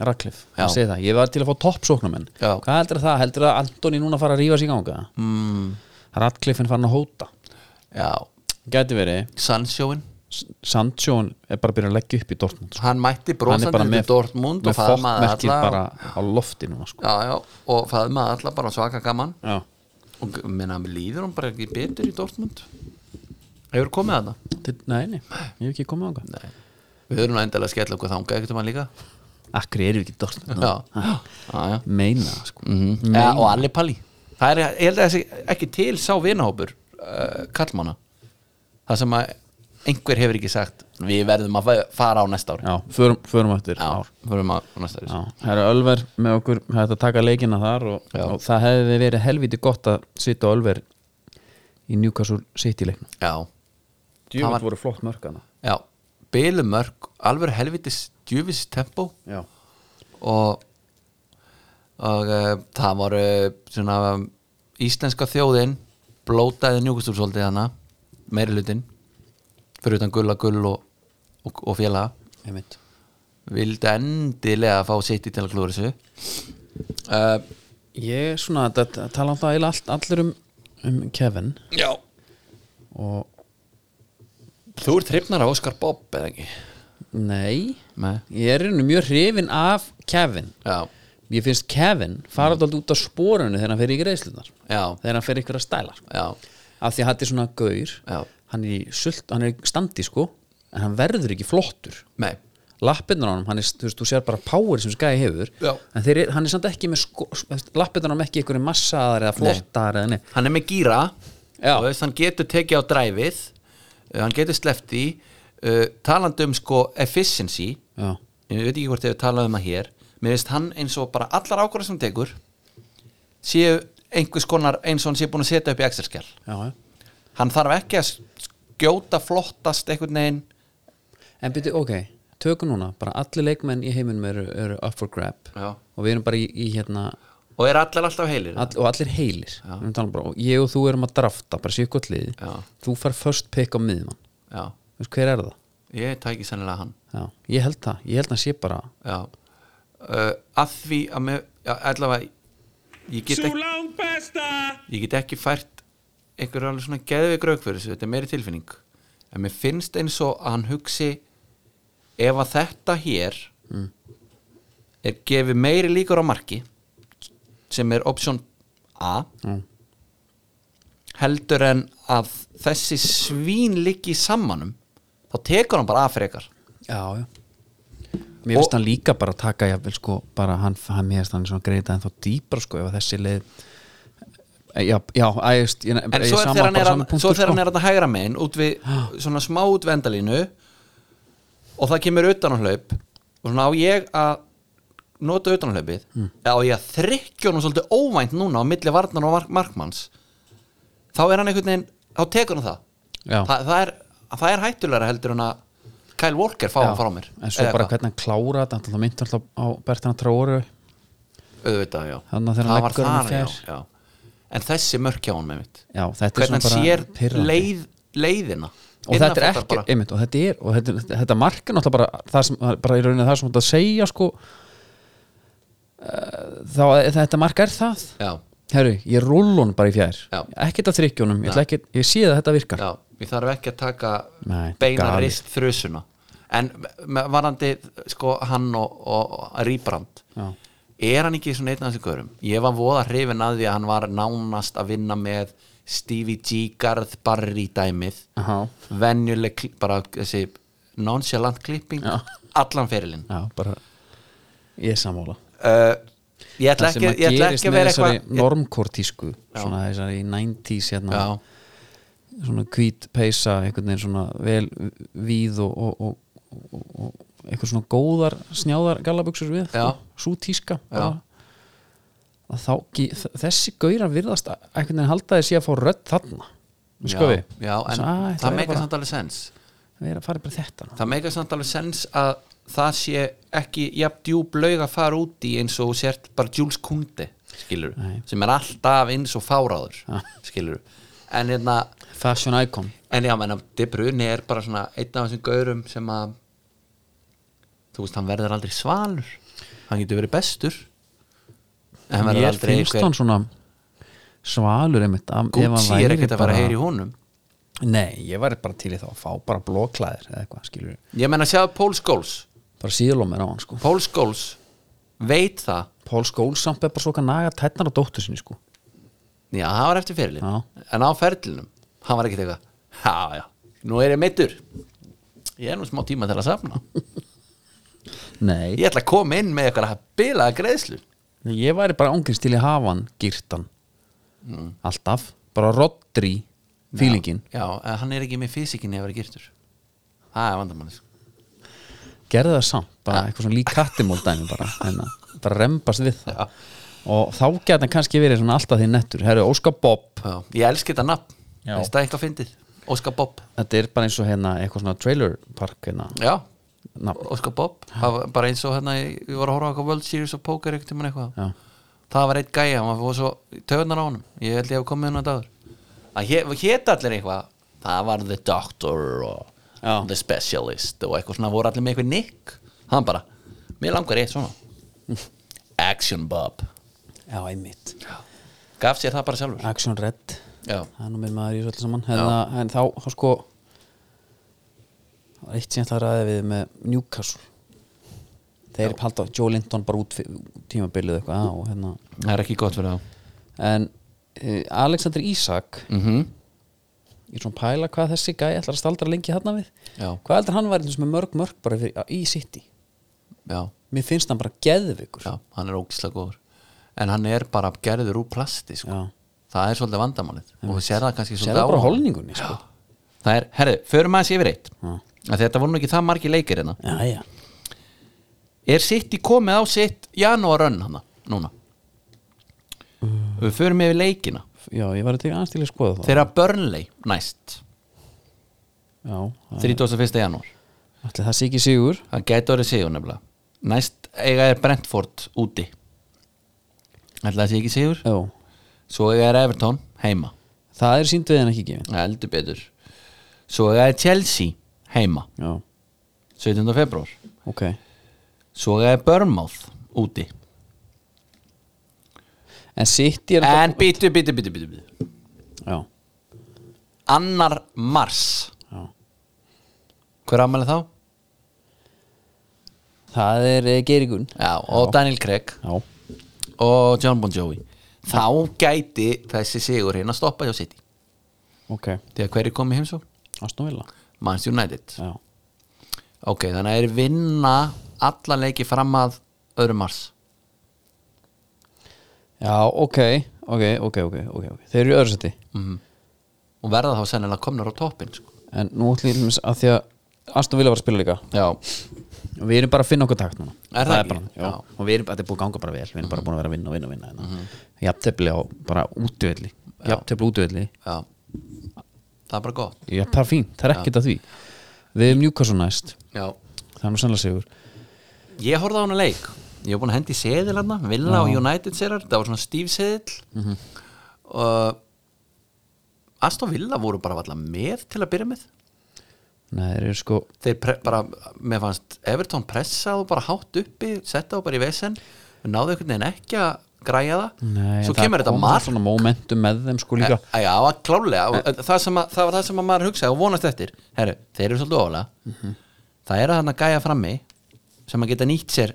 S1: Radcliffe,
S2: Já.
S1: hann segi það Ég var til að fá toppsóknumenn
S2: Já.
S1: Hvað heldur það? Heldur það að Antoni núna fara að rífa sig í ganga? Mm. Radcliffe er farin að hóta
S2: Já,
S1: Gæti verið,
S2: Sandsjóin
S1: S- Sandsjón er bara að byrja að leggja upp í Dortmund sko.
S2: Hann mætti
S1: Hann er
S2: brosandi
S1: bara
S2: til
S1: með,
S2: Dortmund og
S1: með
S2: faðmaði
S1: fokkmerkið
S2: alla
S1: bara á lofti núna sko.
S2: Já, já, og faðmaði alla bara svaka gaman
S1: Já.
S2: og minna, líður hann bara ekki betur í Dortmund Hefur komið að það?
S1: Til, nei, nei, ég hef ekki komið á ganga
S2: Nei Við höfum nú endilega að skella okkur þangað ekkert um hann líka
S1: Akkur erum við ekki í Dortmund
S2: Já, já, já
S1: Meina, það, sko
S2: mm. ja, Og allir palli Það er, ég held að þessi ekki til sá vinahópur uh, kallmanna Það sem að einhver hefur ekki sagt Við verðum að fa- fara á næsta ári
S1: Já, förum, förum eftir ár.
S2: förum að á næsta ári
S1: Já, það eru Ölver með okkur hægt að taka leikina þar og,
S2: Já.
S1: og það hefði verið helviti gott að sitja á Ölver í Newcastle City leiknum
S2: Já,
S1: Djúvitt
S2: var-
S1: voru flott mörkana
S2: já Bylumörk, alveg helvitis djúfis tempo
S1: Já,
S2: og og uh, það voru svona um, íslenska þjóðin blótaði njúkustúrsóldið hana meiri hlutin fyrir utan gulla gull og, og, og félaga
S1: einmitt
S2: vildi endilega fá City til að klúra þessu uh,
S1: Ég er svona að að tala um það eiginlega allt, allir um, um Kevin
S2: Já
S1: og
S2: Þú ert hrifnar af Oscar Bob eða ekki
S1: nei,
S2: Nei
S1: ég er einu mjög hrifin af Kevin
S2: Já,
S1: Ég finnst Kevin fara mm. út á sporunni þegar hann fer í greiðslunar
S2: já,
S1: þegar hann fer ykkur að stæla sko.
S2: já,
S1: af því að hann er svona gaur
S2: Já.
S1: hann er, í sult, hann er í standi sko en hann verður ekki flottur
S2: nei
S1: lappirnar á honum, hann er, þú veist, þú sér bara power sem skæði hefur,
S2: Já.
S1: en þeir, er- hann er samt ekki með sko, lappirnar á honum ekki einhverjum massaðar eða flottar eða neitt
S2: Hann er með gíra
S1: Já.
S2: og veist, hann getur tekið á dræfið uh, hann getur sleppt í uh, talandi um sko efficiency
S1: Já,
S2: ég veit ekki hvort ég hef talað um það hér mér veist hann eins og bara allar ákvörður sem hann tekur séu einhvers konar eins og hann sé búin að setja upp í Excel-skjál
S1: já, já
S2: hann þarf ekki að skjóta flottast einhvern veginn
S1: En byrju, ok, tökum núna bara allir leikmenn í heiminum eru, eru up for grab
S2: Já.
S1: og við erum bara í, í hérna
S2: og er allar alltaf heilir
S1: all, og allir heilir, Við erum að tala bara, og ég og þú erum að drafta, bara séu hvort liði
S2: Já.
S1: þú fær first pick á miðmann
S2: já,
S1: Þú veist, hver er það?
S2: ég tæki sennilega hann
S1: Já, ég held það, ég held það sé bara
S2: já uh, að því að mér, já, allavega ég get
S6: Sú
S2: ekki,
S6: lang besta!
S2: ég get ekki fært einhver alveg svona geðveik rauk fyrir þessu þetta er meiri tilfinning en mér finnst eins og að hann hugsi ef að þetta hér er gefið meiri líkur á marki sem er option A
S1: Mm.
S2: heldur en að þessi svín liggi í sammanum þá tekur hann bara A frekar
S1: Já, já Mér finnst hann líka bara að taka jafnvel sko bara hann, hann mér finnst hann svona greita en þá dýpra sko ef að þessi leið Eh, Já, já, æst ég,
S2: en svo er þegar hann er, að, svo
S1: sko.
S2: þegar hann er að hægra megin út
S1: [gasps]
S2: við svona smá út vendalínu og það kemur utan á hlaup og svona á ég að nota utan á hlaupið
S1: Hmm.
S2: eða á ég að þrykkja honum svolítið óvænt núna á milli varnar og mark markmanns þá er hann einhvern veginn þá tekur hann það
S1: Já.
S2: Þa, það, er, það er hættulega heldur en að Kyle Walker fá hann frá mér
S1: En svo bara
S2: Eða hvað?
S1: hvernig hann klára þetta hann myndi alltaf á Bertina Tróru
S2: auðvitað, já
S1: Þarna þegar hann
S2: það var
S1: leggur honum
S2: þar, já,
S1: fjær.
S2: já en þessi mörk hjá hann með mitt
S1: Já, þetta er
S2: hvernig hann
S1: svona
S2: sér
S1: bara pirrandi.
S2: leið, leiðina
S1: og
S2: Innan
S1: þetta er
S2: fótar
S1: ekki,
S2: bara.
S1: einmitt, og þetta er og þetta, þetta marka náttúrulega bara það sem, bara í rauninni það sem þetta segja sko uh, þá, þetta marka er það
S2: Já,
S1: Herru, ég rull honum bara í fjær
S2: Já.
S1: ekkert að þrykkja honum, ég, ætla ekkert- ég sé að þetta virkar
S2: já, ég þarf ekki að taka
S1: Nei,
S2: beina
S1: galið.
S2: rist þrjusuna en me- varandi sko hann og, og, og Rýbrand
S1: Já.
S2: er hann ekki svona einn af þessu görum ég var voða hrifin að því að hann var nánast að vinna með Stevie G Garth Barry dæmið
S1: Aha.
S2: venjuleg, kli- bara þessi nonchalant klipping
S1: Já.
S2: allan fyrirlin
S1: Já, bara Ég er sammála
S2: uh, ég ætla
S1: Það sem
S2: ekki,
S1: að
S2: ég ætla
S1: gerist
S2: ekki að
S1: með
S2: vera
S1: þessari
S2: eitthvað ég-
S1: normkortísku Svona þessari 90s hérna
S2: Já.
S1: Svona hvít peysa Einhvern veginn svona vel víð Og, og, og, og, og eitthvað svona góðar Snjáðar gallabuxur við
S2: Já.
S1: Sú tíska bara. Að þá, ge- þ- Þessi gaurar virðast að- Einhvern veginn halda þessi að fá rödd þarna Sko
S2: já,
S1: við
S2: já, en
S1: Svo, "Æ,
S2: það
S1: er
S2: meikar
S1: bara-
S2: samt alveg sens
S1: Við erum að fara bara í þetta nú.
S2: það meikar samt alveg sens að það sé ekki jafn djúb laug að fara út í eins og þú sért bara Jules Kunde skilur,
S1: Nei.
S2: sem er alltaf eins og fáráður skilur, en hérna
S1: Fashion icon
S2: en já, menna, Debruni er bara svona einn af þessum gaurum sem að þú veist, hann verður aldrei svalur hann getur verið bestur en hann verður
S1: Mér
S2: aldrei
S1: finnst hann svona svalur einmitt af- ef hann
S2: Gucci er
S1: væri
S2: ekkert að vera
S1: bara-
S2: að heyra í honum
S1: Nei, ég væri bara til í þá að fá bara blóklæðir eða eitthvað, skilur
S2: ég menna að sjá Pól Skóls
S1: bara síðlómið á hann, sko
S2: Pól Skóls veit það
S1: Pól Skóls samt er bara svo að naga tætnar á dóttur sinni, sko
S2: já, það var eftir fyrirlin
S1: Já.
S2: en á ferlinum, hann var ekkert eitthvað já, já, nú er ég meittur ég er nú smá tíma til að safna
S1: Nei,
S2: ég ætla að koma inn með eitthvað að bila greiðslu
S1: ég væri bara ángrins til í hafan girtan, alltaf bara roddri fílingin
S2: Mm. já, en hann er ekki með físikinni að vera girtur það er sko. vandamann
S1: gerði það samt, bara eitthvað svona lík kattimól dæmi bara,
S2: [laughs]
S1: hérna, bara rembast við það og þá gæti hann kannski verið svona alltaf því nettur, herru, Óskar Bob
S2: ég elski þetta nafn,
S1: Já.
S2: veist það eitthvað fyndið Óskar Bob,
S1: þetta er bara eins og hérna eitthvað svona trailer park hérna,
S2: já,
S1: nafn
S2: Óskar Bob Það var bara eins og hérna, ég ég var að horfa á eitthvað World Series of Poker ekkert tímann eitthvað
S1: Já.
S2: það var eitt gæja, hann var svo töðunar á honum ég held ég hef komið hérna dagur það hétt allir eitthvað, það var The Doctor og
S1: Já.
S2: The Specialist og eitthvað svona, voru allir með eitthvað nick hann bara, mér langar eitt svona [laughs] Action Bob
S1: Já, einmitt
S2: gaf sér það bara sjálfur
S1: Action Red
S2: já,
S1: Það er nú minn maður í þessu öllu saman hérna, En þá, þá sko Það var eitt sem ég ætla að ræða við með Newcastle Þeir halda Joe Linton bara út fyrir- tímabilið eitthvað á, hérna.
S2: það er ekki gott fyrir það
S1: En uh, Alexander Isak
S2: mm -hmm.
S1: Ég er svona að pæla hvað þessi gæi ætlar að staldra lengi hérna við
S2: Já.
S1: Hvað heldur hann væri til þess með mörg mörg bara fyrir, í City
S2: já,
S1: Mér finnst hann bara geðvikur
S2: já, hann er ógislega góður en hann er bara gerður úr plasti sko.
S1: Já.
S2: það er svolítið vandamálið og þú sér það kannski
S1: Sér það bara
S2: á honum.
S1: holningunni sko.
S2: það er, herðu, förum aðeins yfir eitt að þetta voru nú ekki það margi leikir hérna
S1: Já, já
S2: er sitt í komið á sitt janúarönn hann núna við förum yfir leikina
S1: Já, ég var að teka aðstíli að skoða það
S2: þeirra Burnley næst
S1: Já, það-
S2: 31. janúar
S1: ætli það sé ekki sigur
S2: það gæti orðið sigur nefnilega næst eiga er Brentford úti ætla það sé ekki sigur
S1: Já,
S2: svo eiga er Everton heima
S1: það er síndið en ekki gefin
S2: Það heldur betur Svo er Chelsea heima
S1: Já,
S2: 17. februar
S1: ok
S2: Svo er Bournemouth úti
S1: En City er
S2: En býtu, býtu, býtu, býtu, býtu
S1: Já,
S2: Annar mars
S1: Já.
S2: Hver afmæli þá?
S1: það er eh, Geirigun
S2: Já, og Daniel Craig
S1: Já,
S2: og John Bon Jovi Þá gæti þessi sigur hérna að stoppa hjá City
S1: ok
S2: Þegar hverju komið heimsó?
S1: Aston Villa
S2: Manns United
S1: Já,
S2: Ok, þannig að er vinna alla leiki fram að öðrum mars
S1: Já ok, ok, ok, ok, ok, ok Þeir eru í öðru seti
S2: Mhm. og verða þá sennilega komnar á toppin sko.
S1: En nú ætlum ég til dæmis að því að Aston Villa var að spila líka
S2: Já,
S1: Og Við erum bara að finna okkur takt núna
S2: Er það ekki?
S1: bara, já.
S2: Já.
S1: Og við erum, þetta er búið að ganga bara vel Við erum bara búin að vera að vinna og vinna og vinna mm -hmm. Jafntefli á bara útvelli Jafntefli útvelli
S2: já Það er bara gott
S1: Já, það er fínt, það er ekkert að því Við erum Newcastle næst
S2: Já.
S1: Það er nú sannlega sigur
S2: Ég horfði á hana leik Ég var búin að hendi seðil hana Villa og United seðlar, það var svona stíf seðil
S1: Mhm.
S2: og Aston Villa voru bara valla með til að byrja með
S1: Nei, þeir eru sko
S2: Þeir pre- bara, mér fannst Everton pressað og bara hátt uppi setta og bara í vesen náðu einhvern veginn ekki að græja það
S1: Nei,
S2: Svo
S1: en það
S2: kemur þetta
S1: kom
S2: mark
S1: svona momentum með þeim sko líka
S2: Æ, Já, klálega, eh, það, sem að, það var það sem að maður hugsaði og vonast eftir Heru, Þeir eru svolítið ofalega
S1: Mhm.
S2: Það er að hann að gæja frammi sem að geta nýtt sér,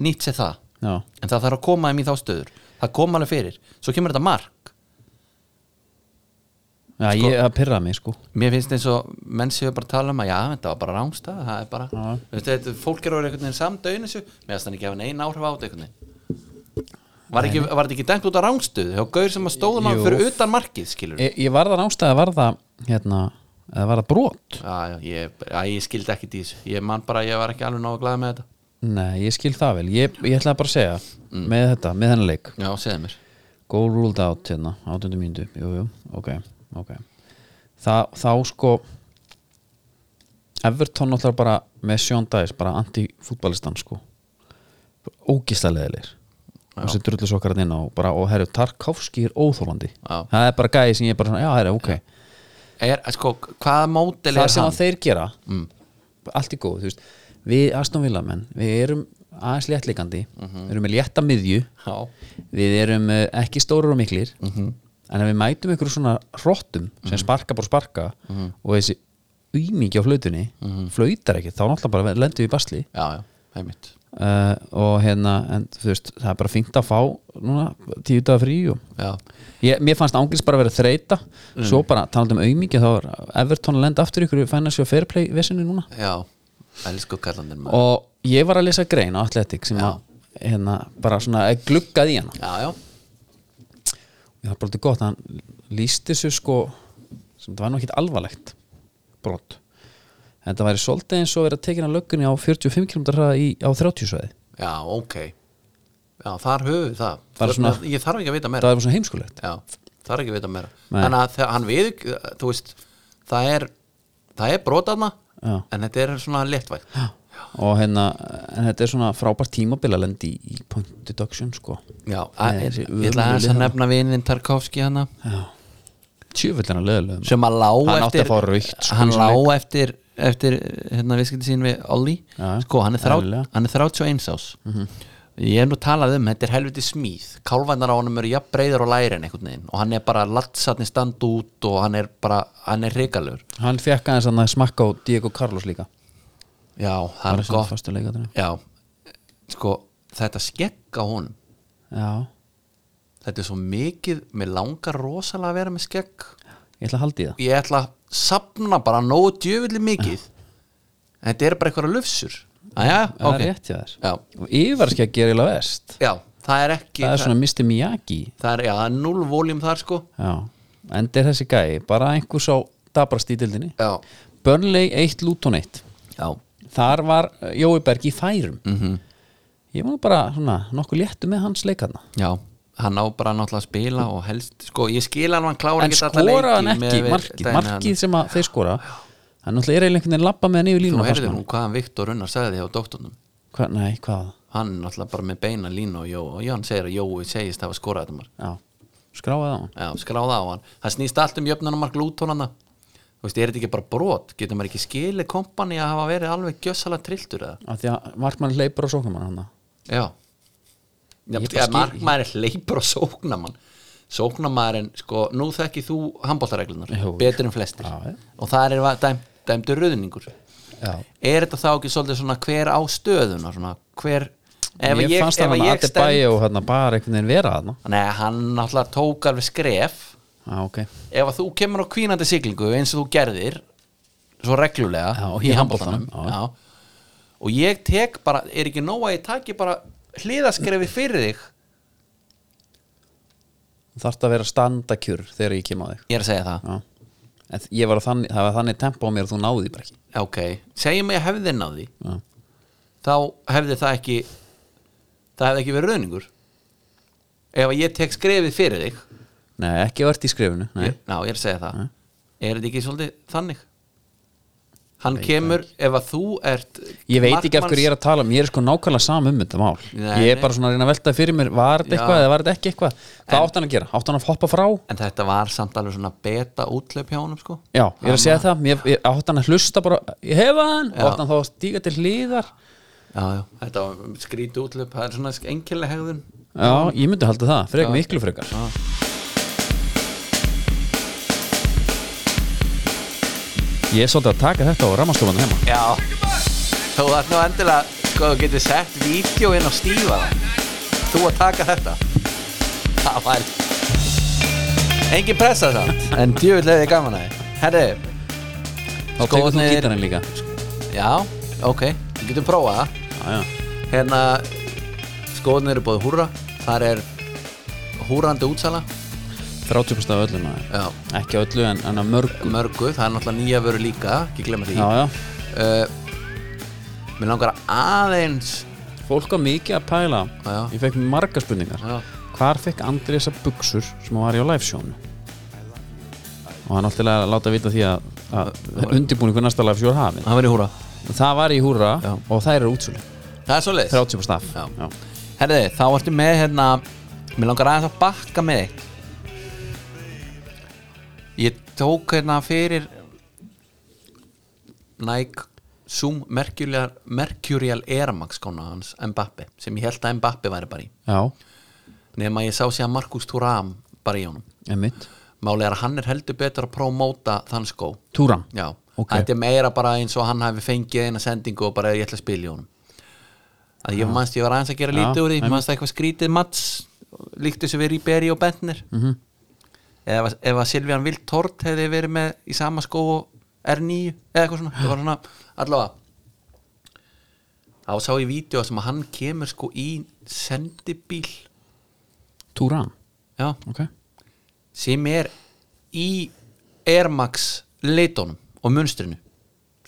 S2: nýtt sér það
S1: Já,
S2: en það þarf að koma þeim í þá stöður það kom alveg fyrir, svo kemur þetta mark
S1: já ég, það pyrraði mig sko
S2: mér finnst eins og menn séu bara að tala um að já, þetta var bara rángsta það er bara,
S1: Já.
S2: veistu, þetta, fólk er orðið einhvern veginn samdauðin þessu, mér finnst þannig ekki hafa neina áhrif á þetta einhvern veginn var, ekki, var þetta ekki dæmt út af rángstöðu hjá gaur sem að stóðum hann
S1: Jú.
S2: fyrir utan markið skilur
S1: Ég, ég var það nástæði, var það hérna, eða var það brot
S2: já, já, ég, já, ég skildi ekki í þessu ég man bara, að ég var ekki alveg náðu glæð með þetta
S1: Nei, ég skil það vel, ég, ég ætlaði bara að segja
S2: Mm.
S1: með þetta, með þennan leik
S2: já, segðu mér
S1: Goal ruled out hérna, 8. mínútu Jú, jú, ok, ok Þa, Þá sko Everton náttúrulega bara með Sean Dice, bara anti-fútbalistan sko ógislega leðilegir og sem drullu svo inn á bara, og herru, Tarkovski er óþólandi
S2: Já.
S1: það er bara gæði sem ég er bara svona, já, herru, ok
S2: er, sko, hvaða mótil
S1: það
S2: er
S1: sem
S2: hann? Mm.
S1: að þeir gera allt í góð, þú veist við Aston Villa menn, við erum aðeins léttlikandi
S2: Mhm.
S1: við erum með létta miðju
S2: já,
S1: við erum eh, ekki stórir og miklir en ef við mætum ykkur svona hrottum sem sparka bara sparka og þessi umingi á flautunni flautar ekki, þá náttúrulega bara lendum við í basli
S2: já, já, heimitt
S1: uh, og hérna, en þú veist það er bara fínt að fá núna tíu dagar frí og
S2: já,
S1: Ég, mér fannst Anglis bara verið að þreita svo bara talandi um aumingi þá er Everton að lenda aftur ykkur í Financial Fair Play vesinu núna
S2: já, elsku kallandir maður
S1: og ég var að lesa grein á Athletic sem að hérna, bara svona eh, gluggaði í hana
S2: já, já,
S1: ég þarf bara til gott að hann lísti þessu sko sem það var nú ekkit alvarlegt brot en það væri svolítið eins og verið að tekina löggunni á 45 km hraða í, á 30 svæði
S2: já, ok já, þar höfum við það,
S1: Bara svona-
S2: ég þarf ekki að vita
S1: það
S2: meira
S1: er bara svona heimskulegt
S2: já, þarf ekki að vita meira
S1: Nei.
S2: þannig að þegar hann við, þú veist það er, það er brotaðna
S1: Já.
S2: en þetta er svona léttvægt
S1: og hérna, en þetta er svona frábært tímabilalendi í, í point deduction sko
S2: já,
S1: Nei,
S2: að-
S1: þessi
S2: ég ætla aðeins að
S1: ömurlega-
S2: nefna vininn Tarkovski hérna. hana
S1: tjöfullina lögulegum
S2: sem að lá
S1: Hann átti
S2: eftir
S1: að fá rautt, sko,
S2: hann
S1: í
S2: lá
S1: svona
S2: eftir, eftir hérna viðskipti sín við Olli
S1: Já,
S2: sko, hann er, þrá,
S1: eðlilega. Mhm.
S2: hann er 31 ás ég hef nú talað um, þetta er helviti smíð kálvændar á honum eru jafn breyðar og læri en einhvern veginn og hann er bara latsatni stand út og hann er bara, hann er reikalur
S1: Hann fekk aðeins að smakka á Diego Carlos líka
S2: já, það
S1: Bara
S2: er
S1: sem
S2: gott
S1: fastu leikatinu
S2: já, sko, þetta skegg á honum
S1: Já,
S2: þetta er svo mikið, mér langar rosalega að vera með skegg
S1: ég ætla að haldi í það
S2: ég ætla að sapna bara nógu djöfulli mikið en þetta er bara eitthvað lufsur Aja,
S1: Það
S2: ok.
S1: er rétt hjá þér
S2: Já.
S1: Og yfarskegg er eiginlega vest
S2: já, það er ekki
S1: Það er svona Mr. Miyagi
S2: það er, já, það er null voljum þar sko
S1: Já, enda er þessi gæi bara einhver sá dabrast í dildinni
S2: já,
S1: Burnley 1, Luton 1
S2: já,
S1: Þar var uh, Jói Berg í færum -hmm.
S2: Mhm.
S1: Ég var nú bara svona nokkuð léttu með hans leikarna
S2: já hann á bara náttúrulega að spila og helst sko, ég skil hann, hann klára
S1: En
S2: ekki alla
S1: skora hann
S2: leiki
S1: ekki
S2: miðað við
S1: markið,
S2: dæmi
S1: markið
S2: hann-
S1: sem að þeir skora Hann náttúrulega er eiginlega einhvern veginn labba með hann yfir
S2: þú
S1: línuna fannst
S2: heyrðir
S1: manni.
S2: nú hvaðan Viktor Unnar sagði á doktornum
S1: Hva, Nei, hvað?
S2: hann er náttúrulega bara með beina línu og Jó og Jón segir að Jói segist hafa skorað þetta mark
S1: Já, skráði á hann
S2: Já, skráða á hann Það snýst allt um jöfnunumark lútónana Þú veist, er þetta ekki bara brot? Getur maður ekki skilið kompani að hafa verið alveg gjössalega trilltur eða?
S1: af því að markmann leipur á sókumann hann
S2: Já Já,
S1: Ég
S2: ég
S1: bara skil-
S2: markmaður er hleypur og sóknamann Sóknamaðurinn, sko, nú þekki þú handbóltareglunar,
S1: Jú.
S2: betur en flestir
S1: Já, já.
S2: og það er va- dæm, dæmdur röðningur
S1: Já.
S2: Er þetta þá ekki svolítið svona hver á stöðuna, svona hver ef
S1: Mér
S2: ég,
S1: fannst
S2: ef
S1: hann að
S2: ég
S1: Adde
S2: stend
S1: og hérna bara einhvern veginn vera þarna
S2: Nei, hann náttúrulega tók alveg skref
S1: Já, ok
S2: ef að þú kemur á kvínandi siglingu eins og þú gerðir svo reglulega
S1: Já, í
S2: í handbóltanum
S1: handboltanum, já.
S2: og ég tek bara, er ekki nóg að ég taki bara hliðaskrefi fyrir þig
S1: Þarft að vera standakjur þegar ég kem á þig
S2: ég er að segja það,
S1: Já En ég var á þannig, það var þannig tempo á mér að þú náði því bara ekki
S2: ok segjum ég hefði náði
S1: Já.
S2: þá hefði það ekki það hefði ekki verið rauningur ef að ég tek skrefið fyrir þig
S1: Nei, ekki vart í skrifinu Nei,
S2: ég, ná, ég er að segja það er þetta ekki svolítið þannig hann kemur, ef að þú ert
S1: Ég veit ekki af hverju ég er að tala um, ég er sko nákvæmlega sam um þetta mál
S2: Nei,
S1: Ég er
S2: nei.
S1: bara svona að reyna að velta fyrir mér, var þetta
S2: Já.
S1: eitthvað eða var þetta ekki eitthvað Hvað átti hann að gera? Átti hann að hoppa frá?
S2: en þetta var samt alveg svona beta útlöp hjá honum sko
S1: Já, ég er að segja það, mér, ég, átti hann að hlusta bara, ég hefa hann,
S2: Já.
S1: átti hann þá að stíga til hliðar
S2: já, já. þetta var skríti útlöp það er svona engilega hegðun
S1: Já, ég myndi halda það, frekar miklu frekar Ég er svolítið að taka þetta á rammastofanum heima
S2: já þú þarf nú endilega sko þú getur sett vídeo inn á stífa það. þú að taka þetta það var engin pressa samt en djúvill hefði gaman að þið herri,
S1: Þá tekur þú
S2: Skóarnir-
S1: gítarinn líka
S2: já, ok við getum prófað það
S1: Já, já,
S2: hérna skoðin eru búið húra þar er húrandi útsala
S1: 30% af öllu maður
S2: já,
S1: Ekki á öllu en, en að mörgu
S2: mörgu, það er náttúrulega nýja vöru líka ekki glemma því
S1: Já, já,
S2: uh, Mér langar aðeins
S1: fólk var mikið að pæla
S2: Já, já.
S1: Ég fekk marga spurningar
S2: Já.
S1: Hvar fekk Andri þessar buksur sem var í á livesjónu? Og hann átti að láta vita því að, að undirbúningu næsta livesjónu hafin
S2: Það verið húra
S1: Það var í húra
S2: Já.
S1: og þær eru útsölu
S2: Það er svo leið
S1: 30% af
S2: Já.
S1: Já.
S2: Herði, þá ertu með hérna Mér langar aðeins að bakka með eitt Ég tók hérna fyrir Nike Zoom Mercurial, Mercurial Air Max skóna hans Mbappi sem ég held að Mbappi væri bara í
S1: Já,
S2: nema ég sá sé að Markus Thuram bara í honum
S1: einmitt
S2: málega er að hann er heldur betur að prómóta þann skó
S1: Túram
S2: Já,
S1: Ok.
S2: þetta er meira bara eins og hann hafi fengið eina sendingu og bara ég ætla að spila í honum að ég manst, ég var aðeins að gera
S1: Já,
S2: lítið úr því
S1: einmitt.
S2: manst eitthvað skrítið mats líkt þessu við Ríberi og Bentner
S1: Mhm.
S2: -hmm. ef, að- ef að Silvían Viltort hefði verið með í sama skó og R9 eða eitthvað svona, það var svona allavega þá sá ég vídeo sem að hann kemur sko í sendibíl
S1: Túram,
S2: já,
S1: ok
S2: sem er í Air Max leitónum og munstrinu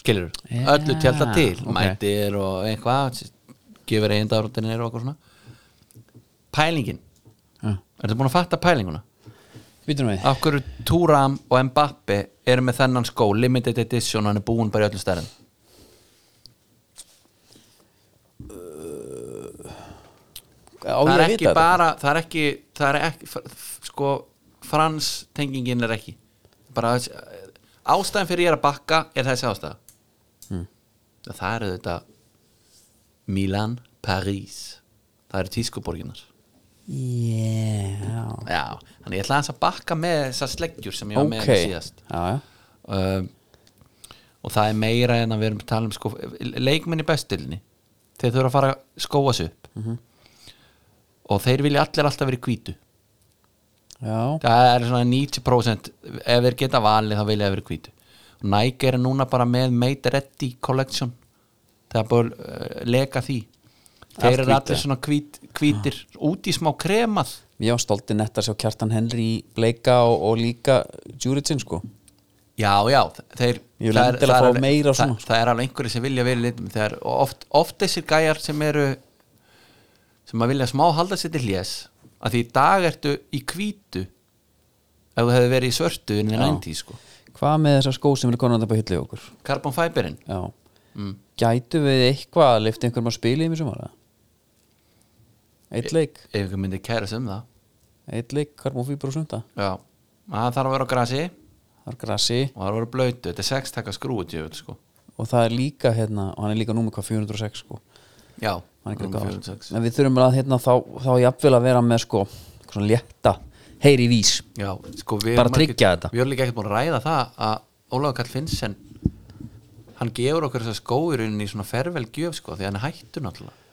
S2: skilur,
S1: Já,
S2: öllu tjálta til
S1: ok.
S2: mætir og eitthvað gefur eigin dagrótinir og eitthvað svona pælingin
S1: Já.
S2: ertu búin að fatta pælinguna
S1: Vítum við
S2: af hverju Túram og Mbappi eru með þennan skó, limited edition og hann er búin bara í öllum stærðin
S1: Á
S2: það
S1: ég
S2: er
S1: að
S2: ekki
S1: vita þetta?
S2: bara, það er ekki það er ekki, f- f- sko frans tengingin er ekki bara þessi- ástæðan fyrir ég er að bakka er þessi ástæða
S1: Hmm.
S2: það eru þetta Milan, Paris það eru tískuborginar
S1: Já
S2: já, þannig ég ætla aðeins að bakka með þessar sleggjur sem ég var
S1: Ok,
S2: með hérna síðast
S1: já, já
S2: um, og það er meira en að við erum að tala um sko, leikmenn í bestilni þeir þurfa að fara að skóa sig upp og þeir vilja allir alltaf verið hvítu
S1: Já,
S2: það er svona 90% ef þeir geta valið þá vilja þeir verið hvítu og Nike er núna bara með Made Ready Collection það er bara uh, leka því
S1: Allt
S2: þeir eru
S1: hvíta.
S2: allir svona hvít, hvítir út í smá kremað
S1: ég var stolti nett að sjá Kjartan Henry í bleika og, og líka Juricin sko
S2: Já, já, þeir
S1: Ég vil
S2: það er-
S1: endilega
S2: það
S1: fá
S2: er alveg-
S1: meira svona, sko.
S2: það, það er alveg einhverjir sem vilja verið litum þegar, og oft, oft þessir gæjar sem eru sem að vilja smá halda sér til hlés að því í dag ertu í hvítu ef þú hefði verið í svörtu inn í 90 sko
S1: Hvað með þessar skó sem eru konan þetta bara hillið okkur?
S2: Carbon fiberinn,
S1: Já Gætu við eitthvað að lifta einhverjum að spila í mér sem var það? Eitt leik
S2: ef einhver myndi kæra sig um það
S1: Eitt leik, hvað er múið sunda?
S2: Já, það þarf að vera á grasi og
S1: Það er grassi
S2: það þarf að vera blöytu, þetta er sextaka skrúið sko.
S1: og það er líka hérna og hann er líka númer hvað 406 sko
S2: Já,
S1: Hann er ekki
S2: númer
S1: gáður.
S2: 46.
S1: en við þurfum bara að hérna þá, þá jafnvel að vera með sko eitthvað svona létta heyri í vís
S2: Já, sko við
S1: Bara
S2: erum ekki-
S1: tryggja þetta.
S2: Við erum líka ekkert búin að ræða það að Ólafur Karl Finnsen hann gefur okkur þessar skóir inn í svona fervel gjöf sko því hann er hættur náttúrulega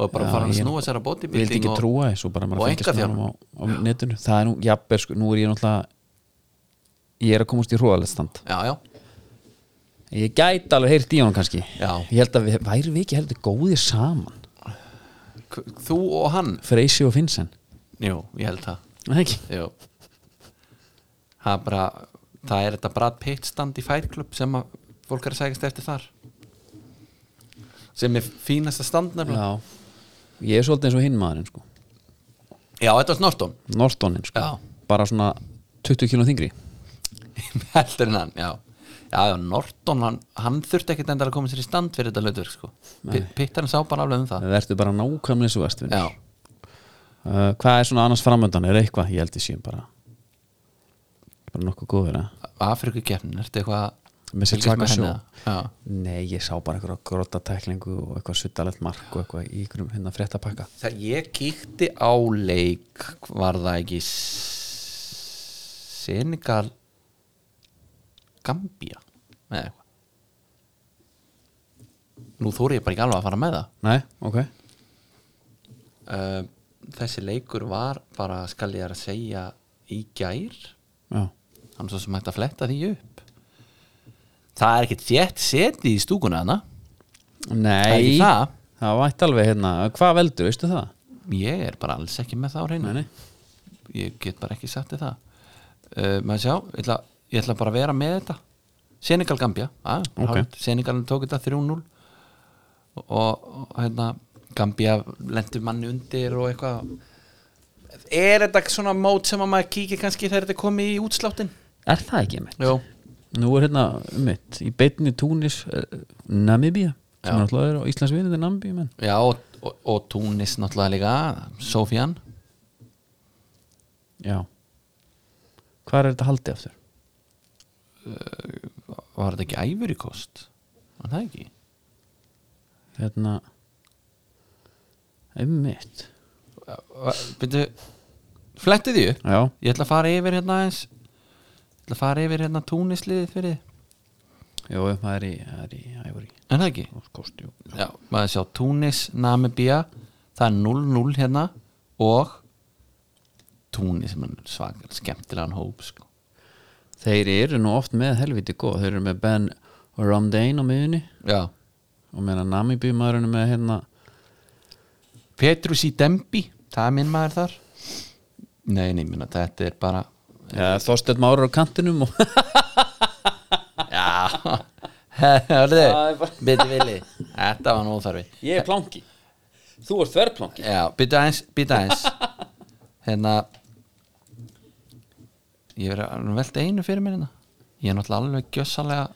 S2: og er bara
S1: Já,
S2: að fara að
S1: ég-
S2: snúa sér að
S1: við vildi
S2: bodybuilding
S1: ekki
S2: og,
S1: trúa þessu bara maður
S2: og
S1: fylgist með honum á,
S2: engaþjálfun
S1: á netinu það er nú jafnvel sko nú er ég náttúrulega ég er að komast í hróðalegt stand
S2: Já, já,
S1: ég gæti alveg heyrt í honum kannski
S2: Já.
S1: ég held að við væri við ekki heldur góðir saman
S2: K- þú og hann
S1: Freysi og Finnsen
S2: Jú, ég held það
S1: Nei, ekki
S2: Jú Það er bara það er þetta Brad Pitt stand í Fight Club sem að fólk er að segast eftir þar sem er fínasta stand nefnilega
S1: Já. ég er svolítið eins og hinn maðurinn sko
S2: Já, þetta var snortum
S1: Nortonin sko
S2: Já.
S1: bara svona 20 kilo þingri
S2: [laughs] heldur en hann, já Já, já, Norton, hann, hann þurfti ekkit endala að koma sér í stand fyrir þetta hlutverk, sko P- Pittarinn sá bara alveg um það
S1: það ertu bara nákvæmlega svo vest
S2: Já,
S1: Uh, hvað er svona annars framöndan, er eitthvað ég held ég séum bara bara nokkuð góður að
S2: Afrikukeppnin, ertu eitthvað að
S1: Með sér
S2: fylgjast
S1: taka sjó.
S2: henni, eða? Já
S1: nei, ég sá bara eitthvað gróta tæklingu og eitthvað suttalegt mark og eitthvað í einhverjum hérna fréttapakka
S2: Það ég kíkti á leik var það ekki S- Senegal Gambía Nei, eitthvað Nú þóri ég bara ekki alveg að fara með það
S1: nei, ok,
S2: uh, Þessi leikur var bara skal ég að segja í gær
S1: já,
S2: hann er svo sem hægt að fletta því upp það er ekkert þétt seti í stúkuna hana Það er
S1: nei
S2: ekki það?
S1: það vænt alveg hérna, hvað veldur, veistu það
S2: ég er bara alls ekki með það á reyna
S1: nei, nei,
S2: ég get bara ekki sagt þið það uh, maður sjá, ég ætla, ég ætla bara að vera með þetta Senegal Gambja
S1: Ok.
S2: okay. Senegalin tók þetta 3-0 og, og hérna Gambja lendur manni undir og eitthvað er þetta svona mót sem að maður kíkir kannski þegar þetta er komið í útsláttin
S1: er það ekki mitt
S2: Jó.
S1: nú er hérna mitt, í beinni Túnis uh, Namibía, sem
S2: Já.
S1: er alltaf er á Íslandsvinni þetta er Namibía, menn
S2: já og, og, og Túnis náttúrulega líka Sofjan
S1: já hvað er þetta haldið aftur?
S2: var þetta ekki æfurikost var það ekki
S1: hérna einmitt
S2: Byndu, fletti því upp
S1: já,
S2: Ég ætla að fara yfir hérna eins Ég ætla að fara yfir hérna túnisliðið fyrir þið.
S1: jú, það er í, það er í æfari,
S2: Er það ekki?
S1: kosti, jú
S2: Já, maður sjá Túnis, Namibía Það er 0-0 hérna Og Túnis er með svakar skemmtilegan hóp sko.
S1: Þeir eru nú oft með helviti góð Þeir eru með Ben Romdain á miðunni
S2: Já
S1: og meðan Namibí maðurinn er með hérna
S2: Petrus í Dembi, það er minn maður þar Nei, nei, minna, þetta er bara
S1: ja, Þorstedt Márar á kantinum og
S2: [laughs] Hörðu,
S1: Það er bara-
S2: byttu vili Þetta var nú óþarfi
S1: Ég er planki Þú ert þverplanki
S2: Já, byttu aðeins, byttu aðeins Hérna Ég er að velta einu fyrir mér hérna Ég er náttúrulega alveg gjössalega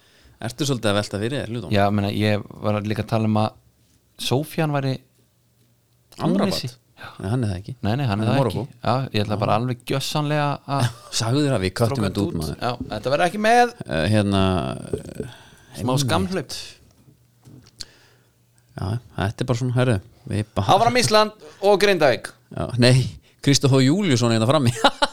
S1: Ertu svolítið að velta fyrir þér, hlutum?
S2: Já, meina, ég var líka að tala um að Sofjan væri
S1: Amrabat?
S2: Túnisi.
S1: Nei, hann er það ekki
S2: Nei, nei, hann er það ekki Já, ég ætla bara alveg gjössanlega að
S1: Sagður að við köttum
S2: Stróka
S1: þetta út
S2: dút.
S1: maður
S2: Já, þetta verður ekki með
S1: uh, Hérna uh,
S2: Smá skamhlaup
S1: Já, þetta er bara svona, herru Við bara
S2: Áfram Ísland og Grindavík
S1: Já, Nei, Kristof Júliusson er hérna frammi [laughs]